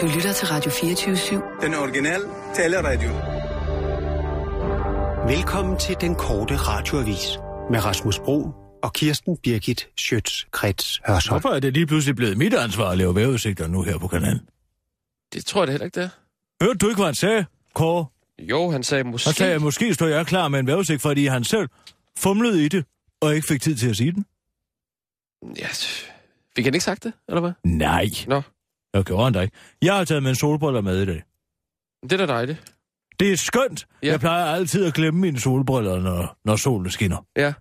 Du lytter til Radio 24 Den originale taleradio. Velkommen til den korte radioavis med Rasmus Bro og Kirsten Birgit Schøtz-Krets Hørsholm. Hvorfor er det lige pludselig blevet mit ansvar at lave vejrudsigter nu her på kanalen? Det tror jeg da heller ikke, det er. Hørte du ikke, hvad han sagde, Kåre? Jo, han sagde måske. Han sagde, at måske står jeg klar med en vejrudsigt, fordi han selv fumlede i det og ikke fik tid til at sige den. Ja, fik han ikke sagt det, eller hvad? Nej. Nå. Jeg gjorde han da ikke. Jeg har taget mine solbriller med i dag. Det er da dejligt. Det er skønt. Ja. Ja. Jeg plejer altid at glemme mine solbriller, når, når solen skinner. Ja.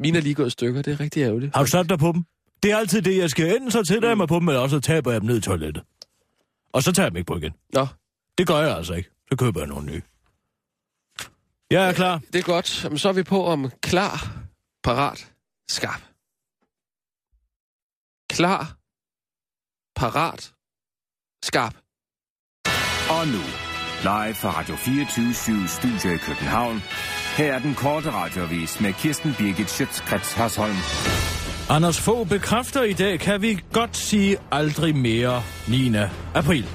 Mine er lige gået i stykker, det er rigtig ærgerligt. Har du sat dig på dem? Det er altid det, jeg skal. Enten så tætter jeg mig på dem, eller også så taber jeg dem ned i toilettet. Og så tager jeg dem ikke på igen. Nå, Det gør jeg altså ikke. Så køber jeg nogle nye. Jeg er klar. det er godt. Jamen, så er vi på om klar, parat, skarp. Klar, parat, skarp. Og nu, live fra Radio 24 Studio i København. Her er den korte radiovis med Kirsten Birgit Schøtzgrads Hasholm. Anders Fogh bekræfter i dag, kan vi godt sige aldrig mere 9. april.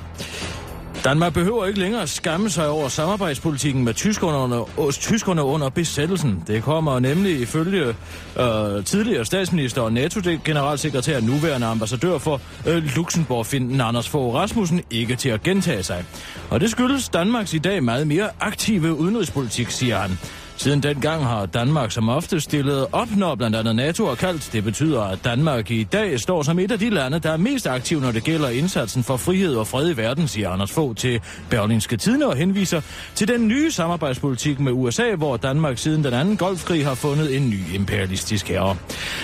Danmark behøver ikke længere at skamme sig over samarbejdspolitikken med tyskerne under, os- tyskerne under besættelsen. Det kommer nemlig ifølge øh, tidligere statsminister og NATO-generalsekretær og nuværende ambassadør for øh, Luxembourg, Finden Anders Fogh Rasmussen, ikke til at gentage sig. Og det skyldes Danmarks i dag meget mere aktive udenrigspolitik, siger han. Siden dengang har Danmark som ofte stillet op, når blandt andet NATO er kaldt. Det betyder, at Danmark i dag står som et af de lande, der er mest aktiv, når det gælder indsatsen for frihed og fred i verden, siger Anders Fogh til Berlinske Tidene og henviser til den nye samarbejdspolitik med USA, hvor Danmark siden den anden golfkrig har fundet en ny imperialistisk herre.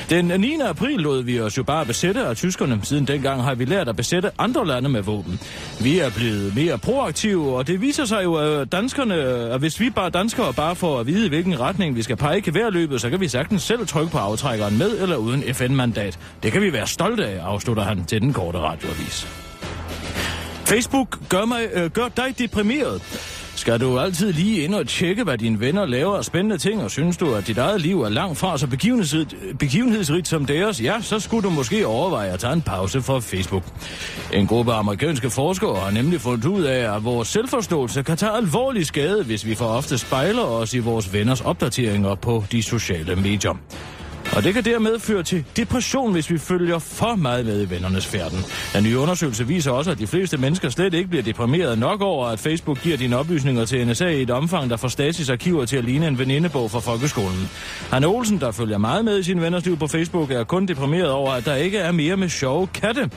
Den 9. april lod vi os jo bare besætte af tyskerne. Siden dengang har vi lært at besætte andre lande med våben. Vi er blevet mere proaktive, og det viser sig jo, at danskerne, at hvis vi bare danskere bare får at vide, i hvilken retning vi skal pege keværløbet, så kan vi sagtens selv trykke på aftrækkeren med eller uden FN-mandat. Det kan vi være stolte af, afslutter han til den korte radioavis. Facebook gør, mig, øh, gør dig deprimeret. Skal du altid lige ind og tjekke, hvad dine venner laver af spændende ting, og synes du, at dit eget liv er langt fra så begivenhedsrigt, begivenhedsrigt som deres, ja, så skulle du måske overveje at tage en pause fra Facebook. En gruppe amerikanske forskere har nemlig fundet ud af, at vores selvforståelse kan tage alvorlig skade, hvis vi for ofte spejler os i vores venners opdateringer på de sociale medier. Og det kan dermed føre til depression, hvis vi følger for meget med i vennernes færden. Den nye undersøgelse viser også, at de fleste mennesker slet ikke bliver deprimeret nok over, at Facebook giver dine oplysninger til NSA i et omfang, der får Stasis arkiver til at ligne en venindebog fra folkeskolen. Hanne Olsen, der følger meget med i sin venners liv på Facebook, er kun deprimeret over, at der ikke er mere med sjove katte.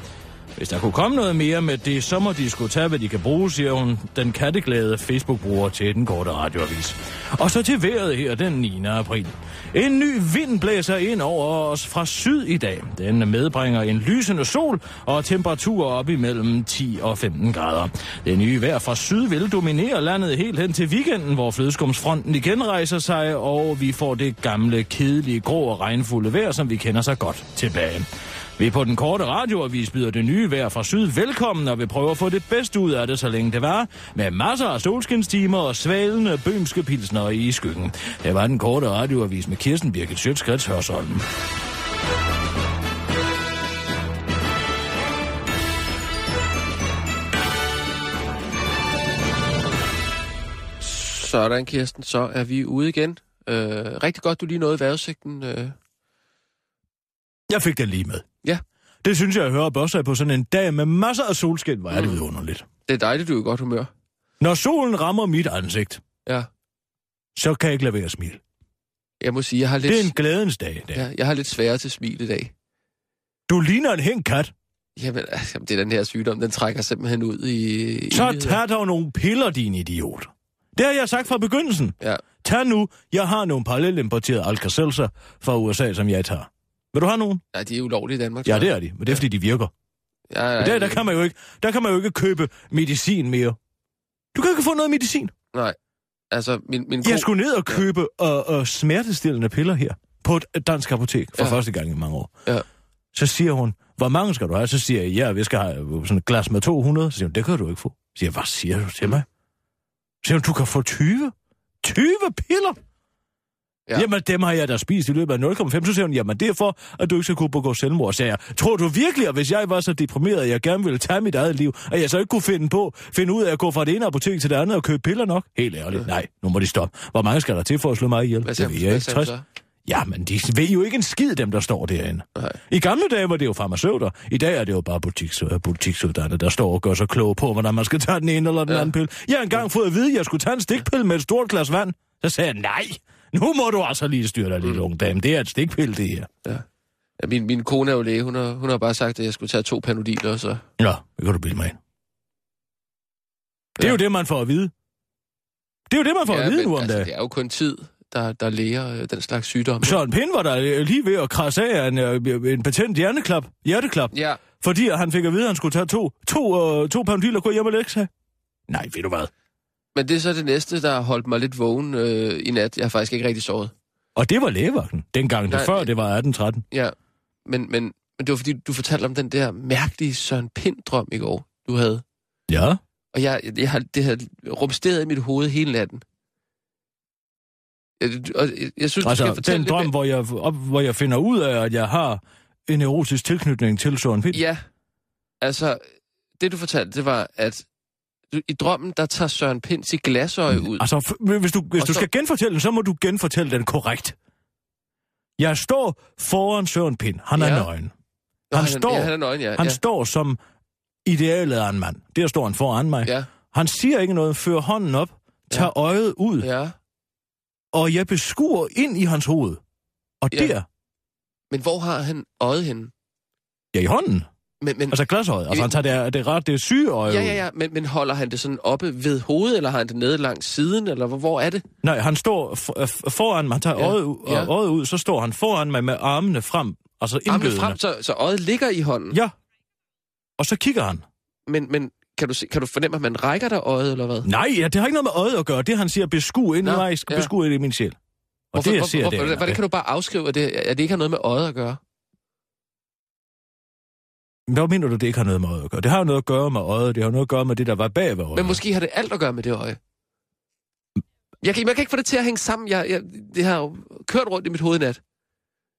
Hvis der kunne komme noget mere med det, så må de skulle tage, hvad de kan bruge, siger hun, den katteglade Facebook-bruger til den korte radioavis. Og så til vejret her den 9. april. En ny vind blæser ind over os fra syd i dag. Den medbringer en lysende sol og temperaturer op imellem 10 og 15 grader. Det nye vejr fra syd vil dominere landet helt hen til weekenden, hvor flødeskumsfronten igen rejser sig, og vi får det gamle, kedelige, grå og regnfulde vejr, som vi kender så godt tilbage. Vi på den korte radioavis byder det nye vejr fra syd velkommen, og vi prøver at få det bedste ud af det, så længe det var, med masser af solskinstimer og svalende bømske pilsner i skyggen. Det var den korte radioavis med Kirsten Birgit Sjøtskrets Hørsholm. Sådan, Kirsten, så er vi ude igen. Øh, rigtig godt, du lige nåede vejrudsigten. Øh. Jeg fik den lige med. Ja. Det synes jeg, jeg hører børsag på sådan en dag med masser af solskin. Hvor er Mm. det vidunderligt. Det er dejligt, du er i godt humør. Når solen rammer mit ansigt, Ja, så kan jeg ikke lade være at smile. jeg må sige, jeg har lidt, Det er en glædens dag i dag. ja, jeg har lidt sværere til smil i dag. Du ligner en hængt kat. Jamen, altså, jamen, det er den her sygdom, den trækker simpelthen ud i... i Så nyheder. tag dog nogle piller, din idiot. Det har jeg sagt fra begyndelsen. Ja, Tag nu, jeg har nogle parallelimporterede alka fra USA, som jeg tager. Vil du have nogen? nej, de er ulovlige i Danmark. Ja, tror det jeg. er de, men det er fordi, de virker. Ja, ja, Men der, der, kan man jo ikke, der kan man jo ikke købe medicin mere. Du kan ikke få noget medicin. Nej, altså, min, min Jeg skulle ned og købe øh, øh, smertestillende piller her på et øh, dansk apotek for ja. Ja. første gang i mange år. Ja. Så siger hun, hvor mange skal du have? Så siger jeg, ja, vi skal have øh, sådan et glas med 200. Så siger hun, det kan du ikke få. Så siger jeg, hvad siger du til mig? Så siger hun, du kan få 20. 20 piller? Ja. Ja. Jamen, dem har jeg da spist i løbet af 0,5. Så siger hun, jamen det er for, at du ikke skal kunne begå selvmord, sagde jeg. Tror du virkelig, at hvis jeg var så deprimeret, at jeg gerne ville tage mit eget liv, at jeg så ikke kunne finde på, finde ud af at gå fra det ene apotek til det andet og købe piller nok? Helt ærligt, nej, nu må de stoppe. Hvor mange skal der til for at slå mig ihjel? Hvad sagde, det ved hun- jeg hvad ikke. sagde hun 60. så? Jamen, de ved jo ikke en skid, dem der står derinde. Nej. I gamle dage var det jo farmaceuter. I dag er det jo bare butiks, butiksuddannede, der står og gør sig kloge på, hvordan man skal tage den ene eller den ja. Ja. anden pille. Jeg har engang fået at vide, at jeg skulle tage en stikpille med et stort glas vand. Så sagde jeg, nej, nu må du altså lige styre dig, Mm. lille unge dame. Det er et stikpille, det her. Ja, min, min kone er jo læge, hun har, hun har bare sagt, at jeg skulle tage to panodiler, og så... Nå, det kan du bilde mig ind. Det er Ja. jo det, man får at vide. Det er jo det, man får ja, at vide nu om altså, dagen. det er jo kun tid, der, der læger øh, den slags sygdomme. Søren Pind var der øh, lige ved at krasse af af en, øh, en patent hjerneklap, hjerteklap. Ja, Fordi han fik at vide, at han skulle tage to, to, øh, to panodiler og gå hjem og lægge sig. Nej, ved du hvad? men det er så det næste, der har holdt mig lidt vågen øh, i nat. Jeg har faktisk ikke rigtig sovet. Og det var lægevagten, dengang det Nej, før, det- det var 1813. Ja, men, men, men det var fordi, du fortalte om den der mærkelige Søren Pind-drøm i går, du havde. Ja. Og jeg, jeg, jeg har, det har rumsteret i mit hoved hele natten. Jeg, og jeg, jeg synes, du skal Altså, fortælle den lidt drøm, mere- hvor jeg, op, hvor jeg finder ud af, at jeg har en erotisk tilknytning til Søren Pind. Ja, altså, det du fortalte, det var, at du, i drømmen, der tager Søren Pind sit glasøje ud. Altså, f- hvis du, hvis Og du så- skal genfortælle den, så må du genfortælle den korrekt. Jeg står foran Søren Pind. Han er Ja. nøgen. Nå, Han er- står, Ja, han er nøgen, ja. Han ja. står som idealet af en mand. Der står han foran mig. Ja, Han siger ikke noget, fører hånden op, tager øjet ud, ja. og jeg beskuer ind i hans hoved. Og Ja. der, Men hvor har han øjet henne? ja i hånden, Men, men, altså glasøjet, altså Ja. han tager det, det ret, det syge øje ja, ud. ja, ja, men, men holder han det sådan oppe ved hovedet, eller har han det nede langs siden, eller hvor, hvor er det? Nej, han står for, øh, foran mig, han tager Ja. øjet, u- Ja. øh, øjet ud, så står han foran mig med armene frem, altså Armen indbydende. frem, så, så øjet ligger i hånden. Ja, og så kigger han. Men, men kan, du se, kan du fornemme, at man rækker dig øjet, eller hvad? Nej, ja, det har ikke noget med øjet at gøre, det han siger, beskue ind i Nå, mig, skal ja. beskue ind i min sjæl. Og det jeg siger, det er, hvordan kan du bare afskrive, at det, at det ikke har noget med øjet at gøre? Hvad mener du, det ikke har noget med øjet at gøre? Det har jo noget at gøre med øjet, det har noget at gøre med det, der var bag ved øjet. Men måske har det alt at gøre med det øje. Jeg kan, jeg kan ikke få det til at hænge sammen. Jeg, jeg, det har jo kørt rundt i mit hoved i nat.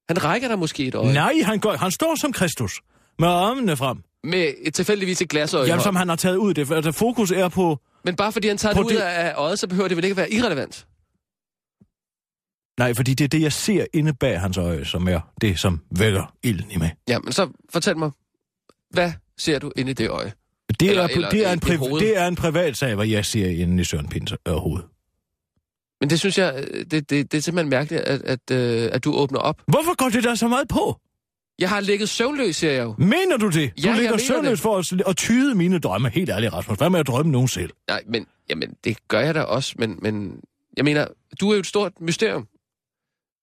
Han rækker dig måske et øje. Nej, han, går, han står som Kristus, med armene frem. Med et tilfældigvis et glasøje. Jamen, Jamen, som han har taget ud, det, altså, fokus er på... Men bare fordi han tager På det ud det- af øjet, så behøver det vel ikke at være irrelevant. Nej, fordi det er det, jeg ser inde bag hans øje, som er det, som vækker ilden i mig. Ja, men så fortæl mig, hvad ser du inde i det øje? Det, Eller- er, eller det, er, en i- i priv- hovedet. det er en privat sag, hvad jeg ser inde i Søren Pins øh, hoved. Men det synes jeg, øh, det, det, det er simpelthen mærkeligt, at, at, øh, at du åbner op. Hvorfor går det der så meget på? Jeg har ligget søvnløs, siger jeg jo. Mener du det? du Ja, jeg ligger mener søvnløs det. for at, at tyde mine drømme. Helt ærligt, Rasmus. Hvad med at drømme nogen selv? Nej, men jamen, det gør jeg da også, men, men jeg mener, du er jo et stort mysterium.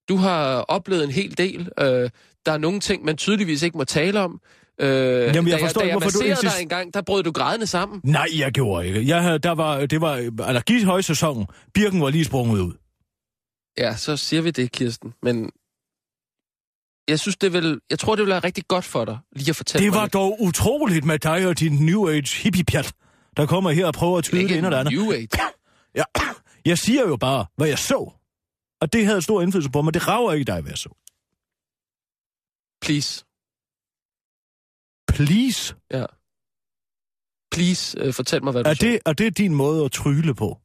Du har oplevet en hel del. Øh, der er nogle ting, man tydeligvis ikke må tale om. Øh, jeg da forstår da ikke, jeg hvorfor du masserede insist- dig en gang, der brød du grædende sammen. Nej, jeg gjorde ikke. Jeg havde, der var, det var allergihøjsæsonen. Birken var lige sprunget ud. Ja, så siger vi det, Kirsten. Men jeg synes, det vil, jeg tror, det vil være rigtig godt for dig, lige at fortælle Det mig var lidt. dog utroligt med dig og din New Age hippiepjat, der kommer her og prøver at tyde det, ikke det ene og det andet. New Age. Ja, jeg siger jo bare, hvad jeg så. Og det havde stor indflydelse på mig. Det rager ikke dig, hvad jeg så. Please. Please. Ja. Please, øh, fortæl mig, hvad du Er så. det, er det din måde at trylle på?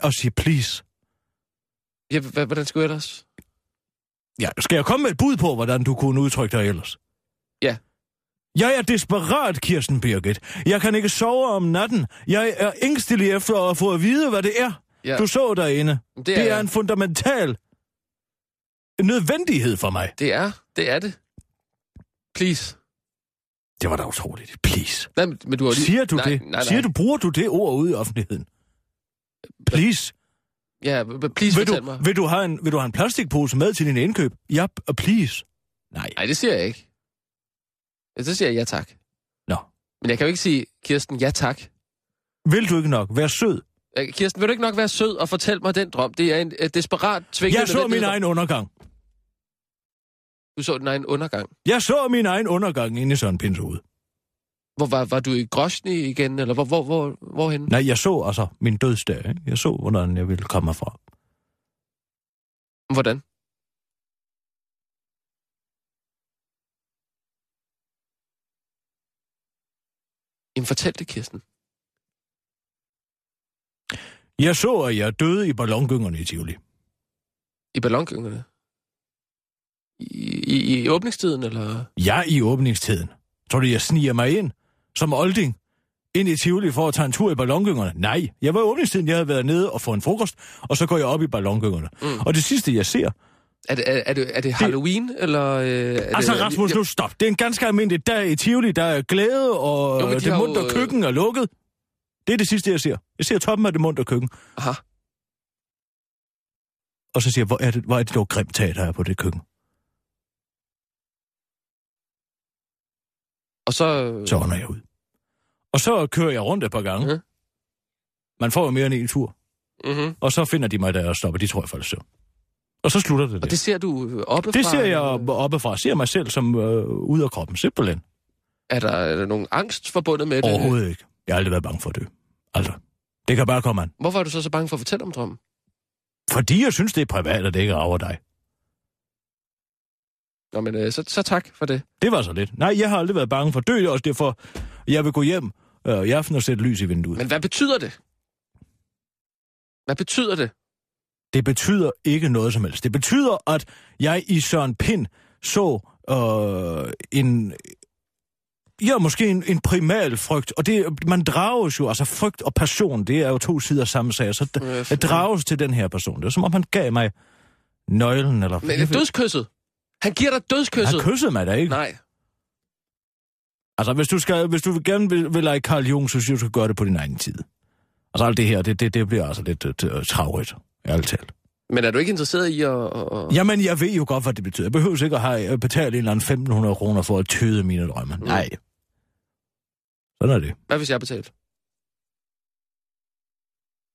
At sige please? Ja, h- hvordan skulle jeg ellers? Ja, skal jeg komme med et bud på, hvordan du kunne udtrykke dig ellers? Ja. Jeg er desperat, Kirsten Birgit. Jeg kan ikke sove om natten. Jeg er ængstelig efter at få at vide, hvad det er, Ja, du så derinde. det, Det er en fundamental nødvendighed for mig. Det er, det er det. Please. Det var da utroligt. Please. Nej, men men du har lige... Siger du nej, det? Nej, nej. Siger du, bruger du det ord ude i offentligheden? Please. Ja, b- b- please Vil fortæl du, mig. vil, du have en, vil du have en plastikpose med til din indkøb? Ja, p- please. Nej. Nej, det siger jeg ikke. Ja, så siger jeg ja tak. Nå. Men jeg kan jo ikke sige, Kirsten, ja tak. Vil du ikke nok? Vær sød. Øh, Kirsten, vil du ikke nok være sød og fortælle mig den drøm? Det er en øh, desperat tvingende... Jeg så min nødvendighed. egen undergang. Du så din egen undergang. Jeg så min egen undergang inde i Søren Pins hoved. Hvor var, var du i Grosny igen, eller hvor, hvor, hvor, hvorhen? Nej, jeg så altså min dødsdag. Ikke? Jeg så, hvordan jeg ville komme herfra. Hvordan? Jamen, fortæl det, Kirsten. Jeg så, at jeg døde i ballongyngerne i Tivoli. I ballongyngerne? I, i, I åbningstiden, eller? Jeg i åbningstiden. Tror du, jeg sniger mig ind? Som olding? Ind i Tivoli for at tage en tur i ballongyngerne? Nej, jeg var i åbningstiden. Jeg havde været nede og få en frokost, og så går jeg op i ballongyngerne. Mm. Og det sidste, jeg ser... Er det, er, er det, er det Halloween, det... eller... Øh, er Altså, det, Rasmus, nu stop. Det er en ganske almindelig dag i Tivoli. Der er glæde, og Jo, jo, men de det har jo, mundt og øh, køkken er lukket. Det er det sidste, jeg ser. Jeg ser toppen af det mundt og køkken. Aha. Og så siger jeg, hvor er det, hvor er det dog grimt tag, der er på det køkken? Og så... Så ånder jeg ud. Og så kører jeg rundt et par gange. Ja. Man får jo mere end en tur. Mm-hmm. Og så finder de mig, der og stopper. De tror, jeg falder i søvn. Og så slutter det. Og det ser du oppe det ser jeg oppefra. Ser mig selv som øh, ud af kroppen. Simpelthen. Er der, er der nogen angst forbundet med det? Overhovedet ikke. Jeg har aldrig været bange for at dø. Altså. Det kan bare komme an. Hvorfor er du så så bange for at fortælle om drømmen? Fordi jeg synes, det er privat, og det ikke rager dig. Nå, men øh, så, så tak for det. Det var så lidt. Nej, jeg har aldrig været bange for at dø. Det er også derfor, jeg vil gå hjem øh, i aften og sætte lys i vinduet. Men Men... hvad betyder det? Hvad betyder det? Det betyder ikke noget som helst. Det betyder, at jeg i Søren Pind så øh, en... Ja, måske en, en primal frygt, og det, man drages jo, altså frygt og passion, det er jo to sider af samme sag, så Øh, jeg drages til den her person. Det er som om, han gav mig nøglen, eller... Men øh, dødskysset. Han giver dig dødskysset. Han kyssede mig da ikke. Nej. Altså, hvis du, skal, hvis du gerne vil, vil lege Carl Jung, så synes jeg, du skal gøre det på din egen tid. Altså, alt det her, det, det, det bliver altså lidt uh, travligt, ærligt talt. Men er du ikke interesseret i at... at- at... Jamen, jeg ved jo godt, hvad det betyder. Jeg behøver ikke at have, at betale en eller anden 1500 kroner for at tyde mine drømme. Mm. Nej. Sådan er det. Hvad hvis jeg betalte?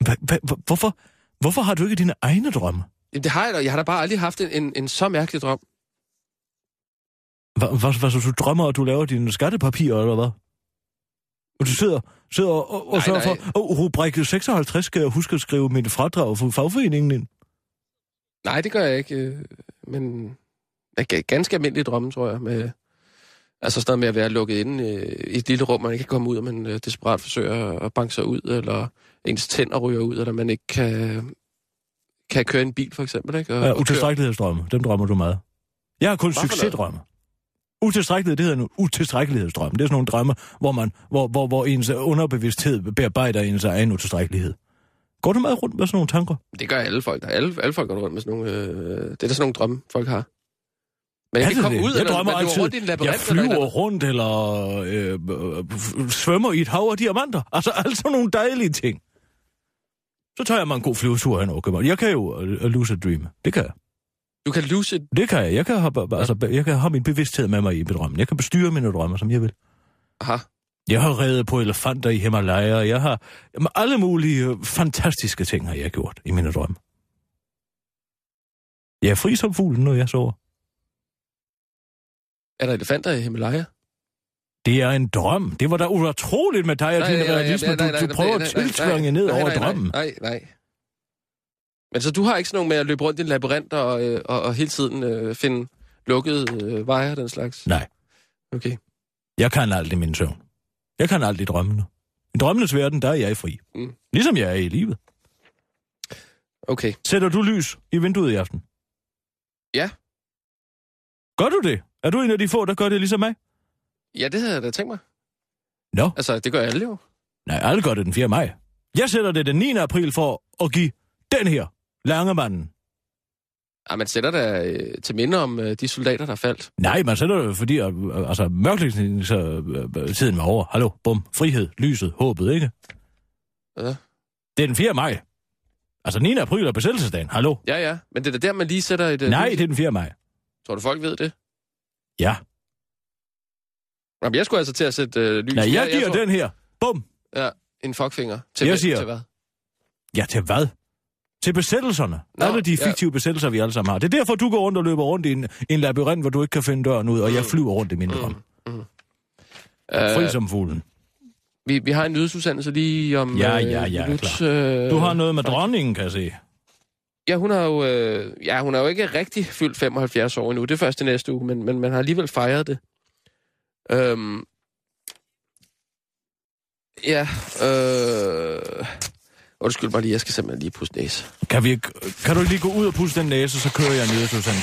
Hva- hva- hva- Hvorfor, hvorfor har du ikke dine egne drømme? Jamen, det har jeg da. Jeg har da bare aldrig haft en, en, en så mærkelig drøm. Hvad, hvad, hvad så du drømmer, at du laver dine skattepapirer, eller hvad? Og du sidder, sidder og, og, og Nej, sørger nej. for, og rubrik 56 skal jeg huske at skrive mit fradrag for fagforeningen ind. Nej, det gør jeg ikke. øh, Men jeg gav ganske almindelige drømme, tror jeg. Med, altså sådan noget med at være lukket inde øh, i et lille rum, man ikke kan komme ud, og man øh, desperat forsøger at banke sig ud, eller ens tænder ryger ud, eller man ikke kan, kan køre en bil, for eksempel. Ikke? Og, Ja, og køre. Øh, utilstrækkelighedsdrømme. Dem drømmer du meget. Jeg har kun Hvad for noget? succesdrømme. Utilstrækkelighed, det hedder nu utilstrækkelighedsdrømme. Det er sådan nogle drømme, hvor, man, hvor, hvor, hvor ens underbevidsthed bearbejder ens egen utilstrækkelighed. Går du meget rundt med sådan nogle tanker? Det gør alle folk. Der. Alle, alle folk går rundt med sådan nogle... Øh, det er da sådan nogle drømme, folk har. Men Er det jeg kan ikke komme det? ud, jeg eller drømmer man løber altid, rundt i en labyrint. jeg eller et eller flyver rundt, eller øh, øh, f- svømmer i et hav af diamanter. Altså, altså nogle dejlige ting. Så tager jeg mig en god flyvetur hen over København. Jeg kan jo uh, lucid dreame. Det kan jeg. andet. Du kan lose et... Det kan jeg. Jeg kan, have, altså, jeg kan have min bevidsthed med mig i mit drømme. Jeg kan bestyre mine drømme, som jeg vil. Aha. Jeg har reddet på elefanter i Himalaya, og jeg har jamen, alle mulige øh, fantastiske ting, har jeg gjort i mine drømme. Jeg er fri som fuglen, når jeg sover. Er der elefanter i Himalaya? Det er en drøm. Det var da utroligt med dig og din realisme. Du, du prøver at tiltvange ned over drømmen. Nej, nej. Men så du har ikke sådan nogen med at løbe rundt i en labyrint og, øh, og, og hele tiden øh, finde lukkede øh, veje og den slags? Nej. Okay. Jeg kan aldrig min søvn. Jeg kan aldrig drømmene. I drømmenes verden, der er jeg fri. Mm. Ligesom jeg er i livet. Okay. Sætter du lys i vinduet i aften? Ja. Gør du det? Er du en af de få, der gør det ligesom mig? Ja, det havde jeg da tænkt mig. Nå. Altså, det gør alle jo. Nej, alle gør det den 4. maj. Jeg sætter det den 9. april for at give den her langemanden. Ej, Ah, man sætter da øh, til minde om øh, de soldater, der faldt. Nej, man sætter det, fordi at, øh, altså, mørklægningstiden øh, var over. Hallo, bum, frihed, lyset, håbet, ikke? Ja. Det er den 4. maj. Altså 9. april er besættelsesdagen. Hallo? Ja, ja. Men det er da der, man lige sætter et... øh, Nej, lys. det er den 4. maj. Tror du, folk ved det? Ja. Jamen, jeg skulle altså til at sætte øh, lys. Nej, jeg jeg giver tror- den her. Bum. Ja, en fuckfinger. Til, Jeg hvad- siger- til hvad? Ja, til hvad? Til besættelserne. Nå, Nå, Alle de ja. fiktive ja. besættelser, vi alle sammen har. Det er derfor, du går rundt og løber rundt i en, en labyrint, hvor du ikke kan finde døren ud, og jeg flyver rundt i min drøm. Fri som fuglen. Øh, Vi, vi har en nyhedsudsendelse lige om... Ja, øh, ja, ja, minut, klar. øh, Du har noget med dronningen, kan jeg se. Ja, hun har jo, øh, ja, hun er jo ikke rigtig fyldt 75 år endnu. Det er først i næste uge, men, men man har alligevel fejret det. Øhm, ja, øh, undskyld mig lige, jeg skal simpelthen lige puste næse. Kan, vi, ikke- kan du ikke lige gå ud og puste den næse, så kører jeg ned, Susanne?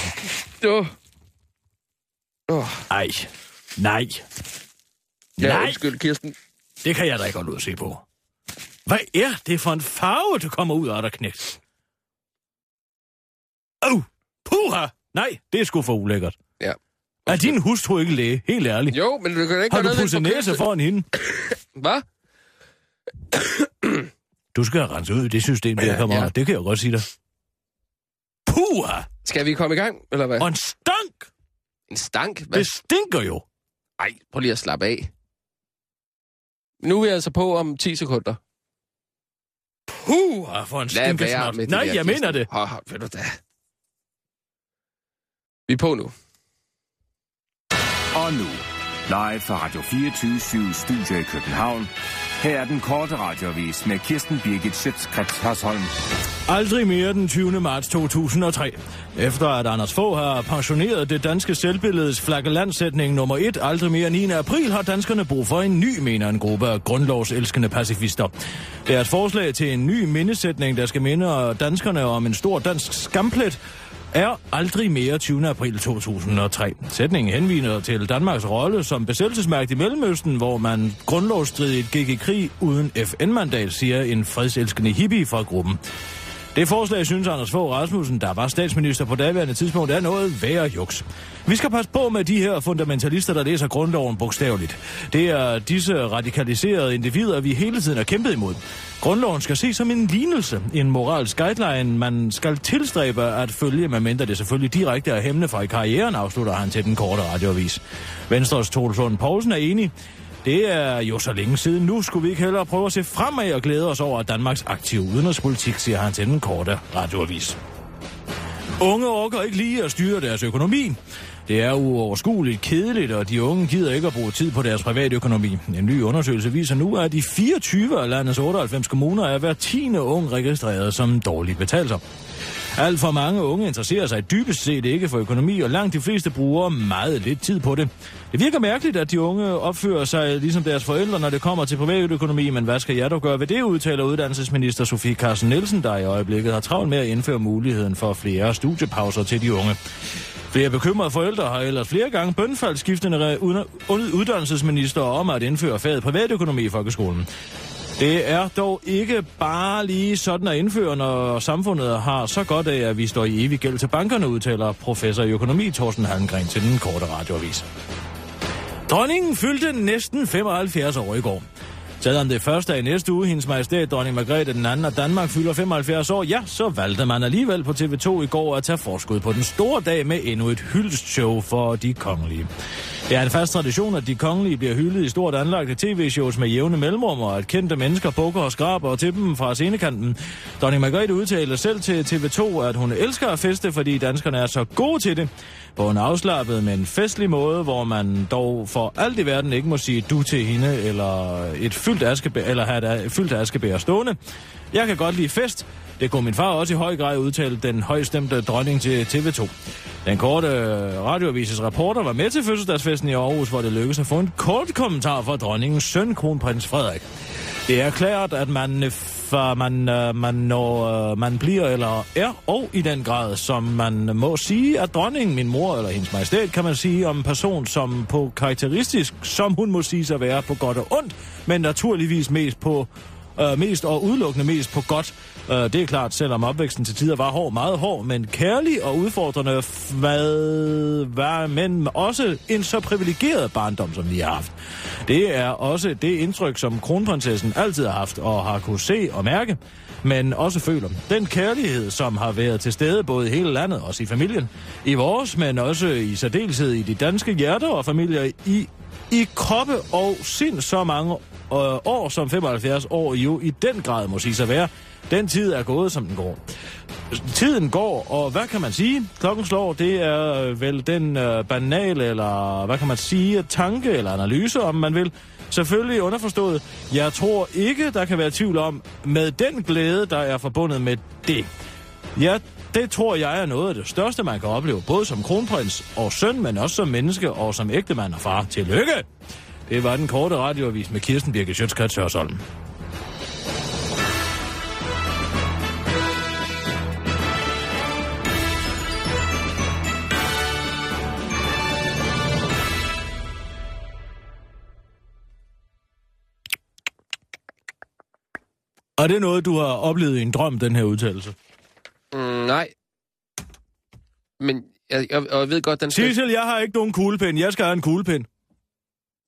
Åh, oh, Ej. Nej. ja, Nej. undskyld, Kirsten. Det kan jeg da ikke holde ud at se på. Hvad er det for en farve, du kommer ud af dig, knægt? Åh, oh, puha! Nej, det er sgu for ulækkert. Ja. Er din hustru ikke læge? Helt ærligt. Jo, men du kan da ikke Har du gøre noget pudset ved næse foran hende? Hvad? Du skal have renset ud i det system, der kommer ja. ja. Det kan jeg godt sige dig. Puha! Skal vi komme i gang, eller hvad? Og en stank! En stank? Hvad? Det stinker jo. Ej, prøv lige at slappe af. Nu er vi altså på om 10 sekunder. Puha, for en Lad stinker være snart. med det Nej, der, jeg Kirsten. mener det. Hå, hå, ved du da. Vi er på nu. Og nu, live fra Radio 24 Studio i København. Her er den korte radiovis med Kirsten Birgit Schøtzgrads Hasholm. Aldrig mere den 20. marts 2003. Efter at Anders Fogh har pensioneret det danske selvbilledes flaggelandsætning nummer 1 aldrig mere 9. april, har danskerne brug for en ny, mener en gruppe af grundlovselskende pacifister. Deres forslag til en ny mindesætning, der skal minde danskerne om en stor dansk skamplet, er aldrig mere 20. april 2003. Sætningen henviser til Danmarks rolle som besættelsesmagt i Mellemøsten, hvor man grundlovsstridigt gik i krig uden FN-mandat, siger en fredselskende hippie fra gruppen. Det forslag synes Anders Fogh Rasmussen, der var statsminister på daværende tidspunkt, er noget værre juks. Vi skal passe på med de her fundamentalister, der læser grundloven bogstaveligt. Det er disse radikaliserede individer, vi hele tiden har kæmpet imod. Grundloven skal ses som en lignelse, en moralsk guideline, man skal tilstræbe at følge, medmindre det selvfølgelig direkte er hæmmende fra i karrieren, afslutter han til den korte radioavis. Venstres Troels Lund Poulsen er enig. Det er jo så længe siden nu, skulle vi ikke hellere prøve at se fremad og glæde os over Danmarks aktive udenrigspolitik, siger han til den korte radioavis. Unge orker ikke lige at styre deres økonomi. Det er uoverskueligt kedeligt, og de unge gider ikke at bruge tid på deres private økonomi. En ny undersøgelse viser nu, at i 24 af landets 98 kommuner er hver tiende ung registreret som dårligt betalser. Alt for mange unge interesserer sig dybest set ikke for økonomi, og langt de fleste bruger meget lidt tid på det. Det virker mærkeligt, at de unge opfører sig ligesom deres forældre, når det kommer til privatøkonomi, men hvad skal jeg dog gøre ved det, udtaler uddannelsesminister Sofie Carsten Nielsen, der i øjeblikket har travlt med at indføre muligheden for flere studiepauser til de unge. Flere bekymrede forældre har ellers flere gange bønfaldt skiftende re- uden- uddannelsesminister om at indføre faget privatøkonomi i folkeskolen. Det er dog ikke bare lige sådan at indføre, når samfundet har så godt af, at vi står i evig gæld til bankerne, udtaler professor i økonomi Thorsten Hallengren til den korte radioavis. Dronningen fyldte næsten 75 år i går. Selvom det første er i næste uge, hendes majestæt dronning Margrethe den anden af Danmark fylder 75 år, ja, så valgte man alligevel på TV2 i går at tage forskud på den store dag med endnu et hyldestshow for de kongelige. Det er en fast tradition, at de kongelige bliver hyldet i stort anlagte tv-shows med jævne mellemrum, og at kendte mennesker bukker og skraber til dem fra scenekanten. Dronning Margrethe udtaler selv til TV2, at hun elsker at feste, fordi danskerne er så gode til det. På en afslappet, men festlig måde, hvor man dog for alt i verden ikke må sige du til hende, eller, et fyldt askebær, eller have et a- fyldt askebær stående. Jeg kan godt lide fest. Det kunne min far også i høj grad udtale den højstemte dronning til TV2. Den korte øh, radioavises reporter var med til fødselsdagsfesten i Aarhus, hvor det lykkedes at få en kort kommentar fra dronningens søn, kronprins Frederik. Det er klart, at man, øh, for man, øh, man, når øh, man bliver eller er, og i den grad, som man må sige, at dronningen, min mor eller hendes majestæt, kan man sige om en person, som på karakteristisk, som hun må sige sig være på godt og ondt, men naturligvis mest på øh, mest og udelukkende mest på godt. Øh, det er klart, selvom opvæksten til tider var hård, meget hård, men kærlig og udfordrende, f- hvad, hvad, men også en så privilegeret barndom, som vi har haft. Det er også det indtryk, som kronprinsessen altid har haft og har kunne se og mærke, men også føler. Den kærlighed, som har været til stede både i hele landet, også i familien, i vores, men også i særdeleshed i de danske hjerter og familier i i kroppe og sind så mange øh, år, som 75 år jo i den grad må sige sig være. Den tid er gået, som den går. Tiden går, og hvad kan man sige? Klokken slår, det er øh, vel den øh, banale, eller hvad kan man sige, tanke eller analyse, om man vil. Selvfølgelig underforstået. Jeg tror ikke, der kan være tvivl om, med den glæde, der er forbundet med det. Jeg Det tror jeg er noget af det største, man kan opleve, både som kronprins og søn, men også som menneske og som ægtemand og far. Tillykke! Det var den korte radioavis med Kirsten Birke Sjøtskrets Hørsholm. Er det noget, du har oplevet i en drøm, den her udtalelse? Mm, nej. Men jeg, jeg, og jeg ved godt, den skal... Sissel, jeg har ikke nogen kuglepen. Jeg skal have en kuglepen.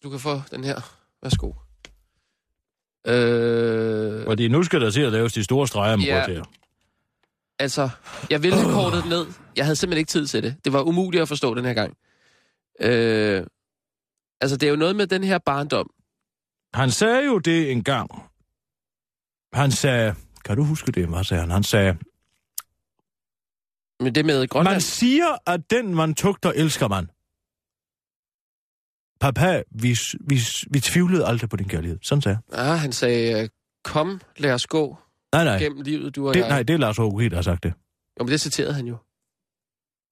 Du kan få den her. Værsgo. Øh, Fordi nu skal der til at laves de store streger om Ja. ja. her. altså, jeg ville Øh. have kortet ned. Jeg havde simpelthen ikke tid til det. Det var umuligt at forstå den her gang. Øh, altså, det er jo noget med den her barndom. Han sagde jo det en gang. Han sagde... Kan du huske det, hvad sagde han? Han sagde... Men det med Grønland... Man siger, at den, man tugter, elsker man. Papa, vi, vi, vi tvivlede aldrig på din kærlighed. Sådan sagde jeg. Ah, han sagde, øh, kom, lad os gå Nej, nej. gennem livet, du og Det, jeg. nej, det er Lars Håge, der har sagt det. Jo, men det citerede han jo.